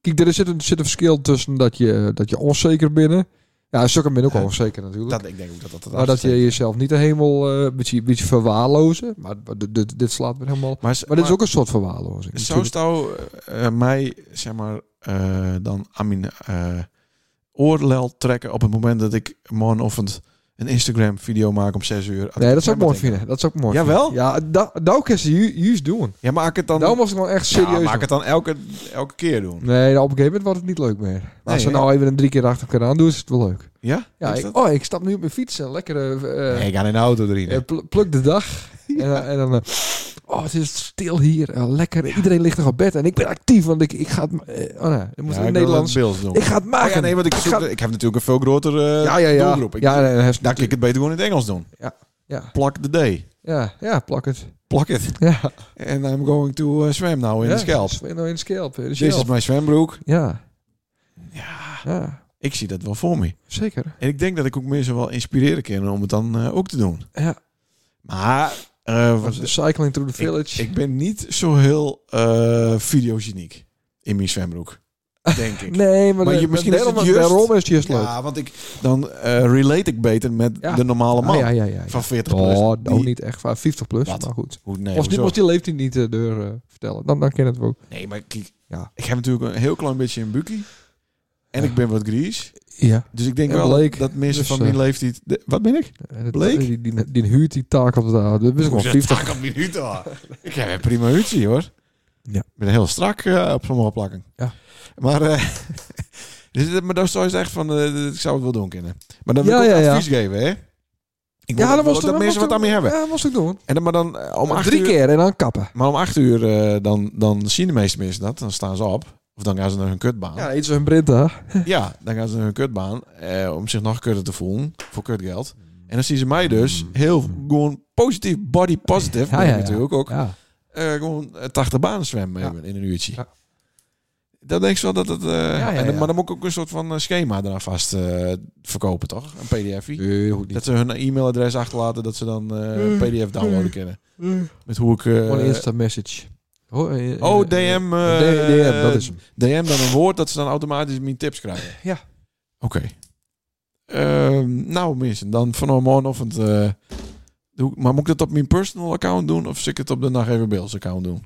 C: Kijk, er zit een, zit een verschil tussen dat je, dat je onzeker binnen. Ja, sukken ben ook wel
A: Ja.
C: onzeker natuurlijk.
A: Dat, ik denk ook dat dat het
C: maar dat je
A: afsteekt.
C: jezelf niet de hemel eh, een beetje, een beetje verwaarlozen. Maar dit, dit, dit slaat me helemaal... Maar,
A: Maar, ze-
C: dit is
A: maar-
C: ook een soort verwaarlozing.
A: Zou
C: natuurlijk.
A: Stouw eh, mij, zeg maar, eh, dan aan mijn eh, oorlel trekken op het moment dat ik morgenochtend een Instagram-video maak om 6 uur?
C: Nee, dat zou ik
A: September
C: mooi
A: denk
C: vinden. Dat zou ik mooi
A: Jawel?
C: vinden. Ja, da- nou kan ze ju- juist doen.
A: Ja, maak het dan,
C: Nou was ik dan echt
A: ja,
C: serieus.
A: maak het dan elke, elke keer doen.
C: Nee, nou, op een gegeven moment wordt het niet leuk meer. Maar als ze
A: hè?
C: nou even een drie keer achter elkaar aan doen, is het wel leuk.
A: Ja?
C: Ja,
A: Is
C: ik,
A: dat-
C: oh, ik stap nu op mijn fiets en lekker eh, eh,
A: Nee, ik ga in de auto erin.
C: eh, pl- pluk de dag. En, eh, en dan, eh, oh, het is stil hier, eh, lekker. Iedereen ligt nog op bed en ik ben actief, want ik, ik ga het... ma- eh, oh nee, dan moet
A: Ja,
C: in
A: ik wil
C: het Nederlands.
A: dat beeld doen.
C: Ik ga het maken.
A: Oh ja, nee, want ik,
C: Ik
A: zoek-
C: ga-
A: ik heb natuurlijk een veel grotere eh,
C: ja, ja, ja.
A: doelgroep. Ik,
C: ja, nee, hij is-
A: Daar kan ik het beter gewoon in het Engels doen.
C: Ja, ja.
A: Plak de D.
C: ja, ja, plak het.
A: Plak het.
C: Ja.
A: En I'm going to eh, swim now in
C: ja.
A: de schelp.
C: Nou, In de schelp. in de
A: Dit is
C: schelp.
A: mijn zwembroek.
C: Ja.
A: Ja,
C: ja,
A: ik zie dat wel voor me.
C: zeker.
A: En ik denk dat ik ook mensen wel inspireren kan om het dan eh, ook te doen.
C: Ja.
A: Maar eh, wat-
C: Cycling through the village.
A: ik ben niet zo heel eh videogeniek in mijn zwembroek. Denk ik.
C: nee, maar,
A: Maar je-
C: de-
A: misschien is het
C: daarom-
A: juist-
C: Daarom is het juist leuk.
A: ja, want ik, dan eh, relate ik beter met
C: Ja.
A: de normale man
C: Ah, ja, ja, ja. ja.
A: van 40 plus.
C: Oh, nou
A: die-
C: niet echt. waar, 50 plus,
A: Wat?
C: maar goed.
A: Hoe, nee,
C: Als die,
A: hoezo?
C: als die leeftijd niet eh, door eh, vertellen, dan, dan ken het ook.
A: Nee, maar kijk,
C: Ja.
A: ik heb natuurlijk een heel klein beetje een bukie. En ik ben wat gries.
C: Ja.
A: Dus ik denk
C: En
A: wel
C: bleek.
A: dat mensen
C: Dus,
A: van mijn
C: eh,
A: leeftijd... de- wat ben ik?
C: En het,
A: Bleek?
C: Eh, Die, die, die huurt die taak op de avond. Dat is gewoon
A: Ik zeg,
C: 50.
A: taak op mijn huid, hoor. Ik heb een prima huidje, hoor.
C: Ja.
A: Ik ben heel strak eh, op sommige plakken.
C: Ja.
A: Maar, eh dus, dat- maar dat zou je echt van... eh, ik zou het wel doen kunnen. Maar dan wil
C: Ja,
A: ik ook
C: ja, ja.
A: advies geven, hè? Ik wil
C: Ja,
A: ook
C: dat
A: wel
C: was
A: dat mensen wat aan me hebben.
C: Ja, dat moest ik doen.
A: En dan, maar dan eh, om
C: Maar
A: acht
C: drie
A: uur,
C: keer en dan kappen.
A: Maar om acht uur eh, dan, dan zien de meeste mensen dat. Dan staan ze op. Of dan gaan ze naar hun kutbaan.
C: Ja, iets als een Brinta.
A: Ja, dan gaan ze naar hun kutbaan eh, om zich nog kutter te voelen voor kutgeld. En dan zien ze mij dus heel gewoon positief, body positive, ben ik natuurlijk ook,
C: Mm. Ja.
A: eh, gewoon eh, 80 banen zwemmen
C: Ja.
A: even in een uurtje.
C: Ja.
A: Dan denk ik wel dat het... eh,
C: ja,
A: en dan-
C: ja.
A: Maar dan moet ik ook een soort van eh, schema eraan vast eh, verkopen, toch? Een pdf
C: Nee, dat hoeft
A: Dat
C: niet.
A: ze hun e-mailadres achterlaten, dat ze dan eh, een pdf downloaden kunnen. Met hoe ik... eh,
C: Gewoon een Insta-message. Oh, eh, eh,
A: oh,
C: eh,
A: DM... eh,
C: eh, DM, dat is hem.
A: DM dan een woord dat ze dan automatisch mijn tips krijgen.
C: Ja.
A: Oké. Ehm, nou, mensen, dan vanaf morgenochtend. eh, doe ik- maar moet ik dat op mijn personal account doen of zit ik het op de Nacht Even Bills account doen?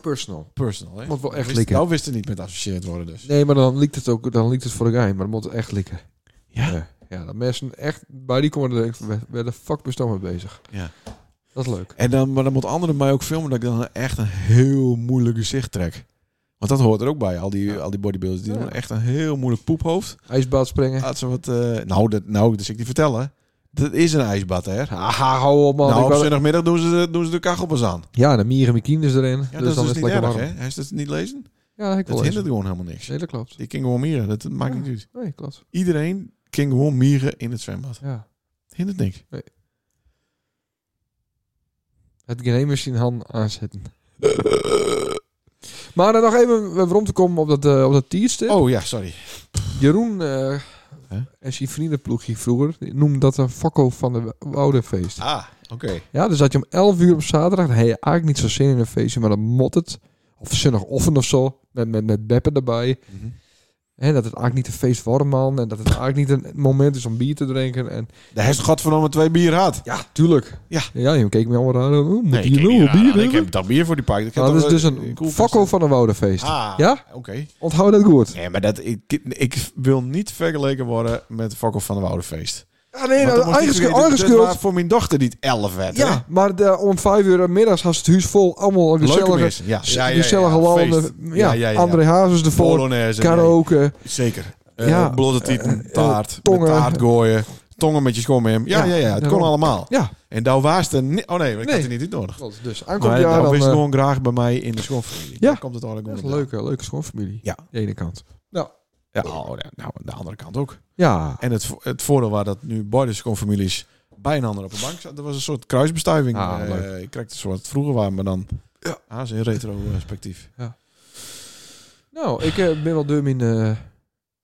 C: Personal.
A: Personal, hè?
C: Moet wel echt
A: Wist-
C: likken.
A: Nou wist het niet met associeerd worden dus.
C: Nee, maar dan liekt het ook dan liekt het voor de guy, maar dat moet echt likken.
A: Ja.
C: Eh, ja, dat mensen echt bij die komen denken, waar- waar de fuck ben je dan mee bezig?
A: Ja.
C: Dat is leuk.
A: En dan, maar dan moet anderen mij ook filmen dat ik dan echt een heel moeilijk gezicht trek. Want dat hoort er ook bij, al die, al die bodybuilders. Die
C: Ja.
A: doen echt een heel moeilijk poephoofd.
C: IJsbad springen.
A: Laat ze wat... eh, nou, dat, nou, dat zal ik niet vertellen. Dat is een ijsbad, hè?
C: Haha, hou op man.
A: nou,
C: Ik
A: op
C: wou-
A: zondagmiddag doen ze, doen ze de kachel pas aan.
C: Ja, en dan mieren mijn kinders erin.
A: Ja,
C: dus
A: dat
C: dan
A: is
C: is
A: dus
C: het
A: niet
C: lekker
A: erg,
C: warm.
A: hè? Hij is dat niet lezen?
C: Ja, dat heb ik
A: Dat
C: wel
A: hindert
C: eens.
A: gewoon helemaal niks.
C: Nee, dat klopt.
A: Die kan gewoon mieren, dat maakt
C: Ja.
A: niet uit.
C: Nee, klopt.
A: Iedereen kan gewoon mieren in het zwembad.
C: Ja.
A: Hindert niks.
C: Nee. Het Geneemachine Han aanzetten. Maar dan nog even waarom te komen op dat, eh, op dat tierste.
A: Oh ja, sorry.
C: Jeroen eh,
A: Hè?
C: en zijn vriendenploegje vroeger die noemde dat een fakkel van de Woudenfeest.
A: Ah, oké.
C: Ja, dus had je om 11 uur op zaterdag. Dan had je eigenlijk niet zo zin in een feestje, maar dan mot het. Of zonnig offen of zo. Met, met, met beppen erbij.
A: Mhm.
C: En dat het eigenlijk niet een feest wordt, man. En dat het eigenlijk niet een moment is om bier te drinken. En
A: De heeft godverdomme twee bier gehad.
C: ja, tuurlijk.
A: Ja.
C: ja je keek me allemaal raar. aan. Oh, moet
A: Nee, ik
C: hier
A: heb
C: nou
A: hier
C: een bier
A: aan.
C: hebben?
A: Ik heb dat bier voor die pak. Ik heb
C: Nou, dat
A: toch,
C: is dus
A: eh,
C: een
A: koelkast.
C: fakkel van een Woudenfeest.
A: Ah,
C: Ja?
A: oké.
C: Onthoud dat goed.
A: Nee, maar dat, ik, ik wil niet vergeleken worden met de fakkel van de Woudenfeest.
C: Ja, nee, nou,
A: Want dan moest ik
C: eigen,
A: vergeten,
C: eigen
A: dit
C: schuld.
A: was voor mijn dochter die het 11 werd.
C: Ja, maar de, om vijf uur middags had het huis vol. Allemaal
A: hè? leuke
C: gezellige,
A: mis. Ja, ja, ja, ja,
C: gezellige
A: ja,
C: landen.
A: feest.
C: Ja, André Hazes ervoor.
A: Polonaise.
C: Karaoke.
A: nee, zeker. Eh
C: Ja.
A: blote tieten,
C: eh,
A: taart, met
C: tongen.
A: taart gooien, tongen met je schommen. Ja,
C: Ja,
A: ja, ja, het kon
C: daarom.
A: allemaal.
C: Ja,
A: En daar was er ni- Oh nee, ik
C: Nee.
A: had er niet in nodig.
C: klopt. Dus aankomend
A: Maar
C: jaar
A: dat
C: dan...
A: is
C: eh,
A: gewoon graag bij mij in de schoonfamilie.
C: Ja.
A: Daar komt het eigenlijk
C: echt
A: onder.
C: een leuke, leuke schoonfamilie.
A: Ja.
C: Aan de ene kant.
A: Ja, oh, ja, nou, aan de andere kant ook.
C: Nou. Ja.
A: En het, vo- het voordeel waar dat nu beide schoonfamilies bij een ander op een bank zaten, dat was een soort kruisbestuiving.
C: Ah,
A: Eh,
C: leuk.
A: ik kreeg het soort vroeger waren, maar dan
C: Ja.
A: ah, ze in retrospectief.
C: Nou, ik eh, ben wel dum in... eh,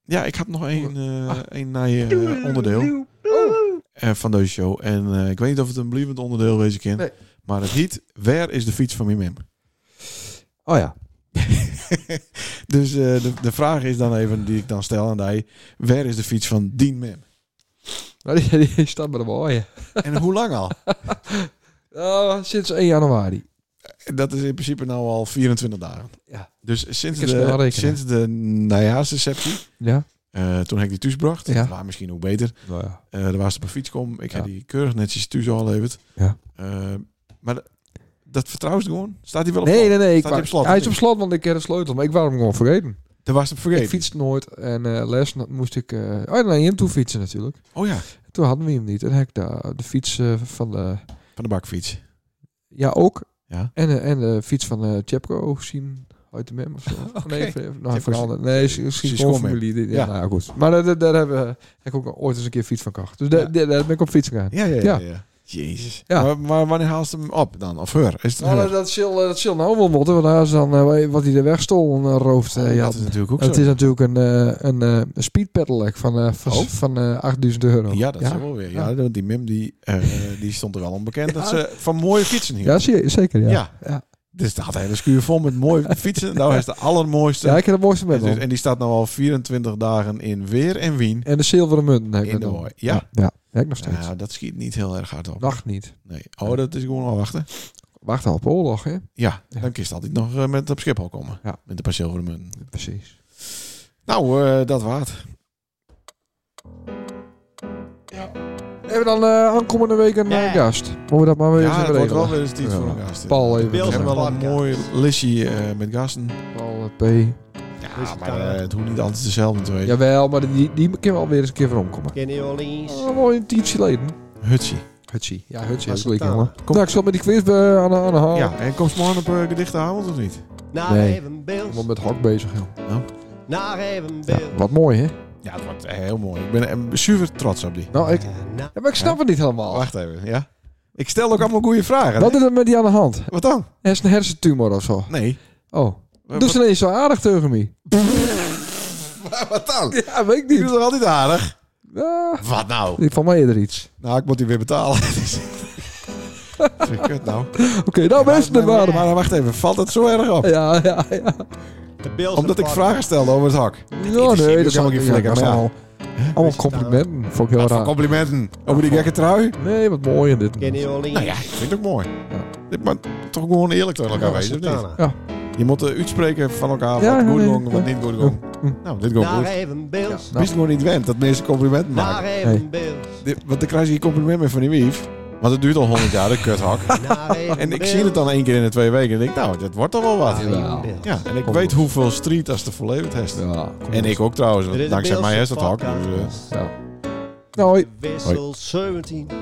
A: Ja, ik had nog één
C: Ah.
A: eh één nij, eh, onderdeel
C: Oh.
A: eh, van deze show. En eh, ik weet niet of het een blijvend onderdeel wezen kan.
C: Nee.
A: Maar het heet Waar is de fiets van mijn mem?
C: Oh ja.
A: Dus eh, de, de vraag is dan even, die ik dan stel aan die, waar is de fiets van dien mem?
C: Nou, die, die staat bij de mooie.
A: En hoe lang al?
C: Oh, sinds 1 januari.
A: Dat is in principe nou al 24 dagen.
C: Ja.
A: Dus sinds
C: Ik kan snel
A: de,
C: rekenen.
A: sinds de najaarsreceptie,
C: Ja?
A: eh, toen heb ik die thuisbracht,
C: Ja.
A: ja. waar misschien ook beter,
C: Nou ja.
A: eh er was op een fiets kom, ik heb
C: Ja.
A: die keurig netjes thuis al geleverd.
C: Ja.
A: Eh, maar d- dat vertrouwt gewoon? Staat hij wel op
C: Nee,
A: slot?
C: nee, nee. Ik
A: Staat hij
C: wou-
A: op slot?
C: hij is op slot, want ik heb de sleutel. Maar ik wou hem gewoon vergeten.
A: Daar was hem vergeten.
C: Ik fietste nooit. En eh, les na- moest ik... eh oh, naar hem toe fietsen natuurlijk.
A: Oh ja,
C: Toen hadden we hem niet. En heb ik daar de fiets eh, van de...
A: van de bakfiets.
C: Ja, ook.
A: Ja.
C: En, eh, en de fiets van eh Tjepko gezien. Uit de mem of zo. Nee, van- nou, van
A: Tjepko
C: een ander. Nee, is-
A: is
C: misschien
A: die
C: gewoon
A: schoonmem.
C: familie. Ja,
A: Ja.
C: nou ja, goed. Maar daar, daar- daar hebben, we- heb ik ook ooit eens een keer fiets van kocht. Dus daar,
A: Ja.
C: daar, daar ben ik op fiets gegaan.
A: Ja, ja, ja.
C: Ja.
A: ja. Jezus.
C: Ja.
A: Maar, maar wanneer haalt ze hem op dan? Of her? Is het een
C: Nou,
A: her?
C: dat, dat zal dat zal nou wel moeten, want daar is dan eh, wat hij de weg stol en rooft. eh, ja,
A: Oh, dat is natuurlijk ook
C: het
A: zo.
C: is natuurlijk een, eh een eh, speed pedelec van, eh, van,
A: Oh.
C: van eh, 8000 euro.
A: Ja, dat
C: ja.
A: is wel weer. Ja, want die Mim die, eh, die stond er wel onbekend dat ze van mooie fietsen hier.
C: Ja, zie je, zeker. Ja.
A: Ja.
C: Ja.
A: Dus daar had hij een schuur vol met mooie fietsen. Nou, hij is de allermooiste.
C: Ja, ik heb het mooiste
A: en,
C: met
A: dus-
C: hem.
A: en die staat nu al 24 dagen in weer en wien.
C: En de zilveren munten heb ik
A: In
C: met
A: de
C: hem.
A: mooi. Ja.
C: Ja, heb ik nog steeds.
A: Nou, dat schiet niet heel erg hard op.
C: Nacht niet.
A: Nee. Oh, dat is gewoon al wachten.
C: Wacht al op oorlog, hè?
A: Ja,
C: Ja.
A: dan kist altijd nog eh, met op Schiphol komen.
C: Ja.
A: Met de perceel voor de munt.
C: Precies.
A: Nou, eh, dat waard.
C: Hebben we dan eh, aankomende week een eh, gast? Moeten we dat maar weer eens
A: Ja,
C: even
A: dat wordt wel
C: regelen?
A: weer eens iets
C: Ja.
A: voor elkaar. zitten.
C: Paul even.
A: We hebben wel een
B: Podcast.
A: mooi listje eh, met gasten.
C: Paul eh, P.
A: Ja,
B: Dus
A: maar
B: dan,
A: eh,
B: eh,
A: het hoeft niet altijd dezelfde te weten.
C: Jawel, maar die, die kunnen we alweer eens een keer voor omkomen.
B: Kenny Orleans.
C: Oh, mooi een tientje geleden.
A: Hutsie.
C: Hutsie. Ja, Hutsie.
B: Was
C: Dat is
B: het
C: leuk, jongen.
A: Kom.
C: Nou, ik zal met die quiz eh, aan de aan de haal.
A: Ja, en kom ze morgen op eh, gedichte avond of niet?
B: Naar
C: Nee.
B: even beeld.
C: Iemand met hak bezig, joh.
B: Naar even beeld.
C: Wat mooi, hè?
A: Ja, het wordt eh, heel mooi. Ik ben eh, super trots op die.
C: Nou, ik,
B: Na-
C: ja, maar ik snap het niet helemaal.
A: Wacht even, ja? Ik stel ook allemaal goede vragen.
C: Wat is er met die aan de hand?
A: Wat dan?
C: Er is een hersentumor of zo.
A: Nee.
C: Oh.
A: Wat-
C: Doe ze ineens zo aardig tegen mij.
A: Wat, wat dan? Die
C: Ja, weet ik
A: doet
C: niet.
A: toch altijd aardig?
C: Ah,
A: Wat nou?
C: ik van mij eerder iets.
A: Nou, ik moet die weer betalen. Dus- Dat vind ik kut nou.
C: Oké, nou mensen, dat
A: maar,
C: waren
A: maar wacht even, valt het zo erg op?
C: Ja, ja, ja.
B: De Bills
A: Omdat ik
B: podcast.
A: vragen stelde over het hak.
C: Ja,
A: zie
C: nee,
A: ik
C: dat
A: ook
C: zou
A: helemaal
C: ik
A: geen
C: niet
A: flikker, maar ja.
C: Allemaal, nou, allemaal complimenten. Vond ik heel
A: Wat voor
C: raar.
A: complimenten.
C: Oh,
A: Over die gekke trui?
C: Nee, wat mooi in dit.
B: Kenny Orleans.
A: Nou ja, ik vind het ook mooi.
C: Ja.
A: Dit- Maar toch gewoon eerlijk tegen elkaar wezen, of niet?
B: Santana.
A: Je moet eh, uitspreken van elkaar wat
C: Ja, ja,
A: goed
C: nee,
A: ging, wat
C: ja.
A: niet goed ging.
C: Ja.
A: Nou, dit ging
B: Naar
A: goed.
B: even beeld.
A: Wist gewoon niet wend dat mensen complimenten
B: Naar
A: maken.
B: even beeld.
A: Dit- Want dan krijg je compliment meer van die wief. Want het duurt al honderd jaar, de kuthak.
B: Naar even
A: En ik
B: beeld.
A: zie het dan één keer in de twee weken en denk nou, dat wordt toch wel wat.
B: Naar even beeld.
A: Ja, en ik weet hoeveel street als de verleverd heeft. En ik ook trouwens,
B: Dit is
A: want
B: de
A: dankzij mij
B: Beelse
A: is dat hak. Dus, eh,
B: podcast.
C: Nou,
B: Wissel 17.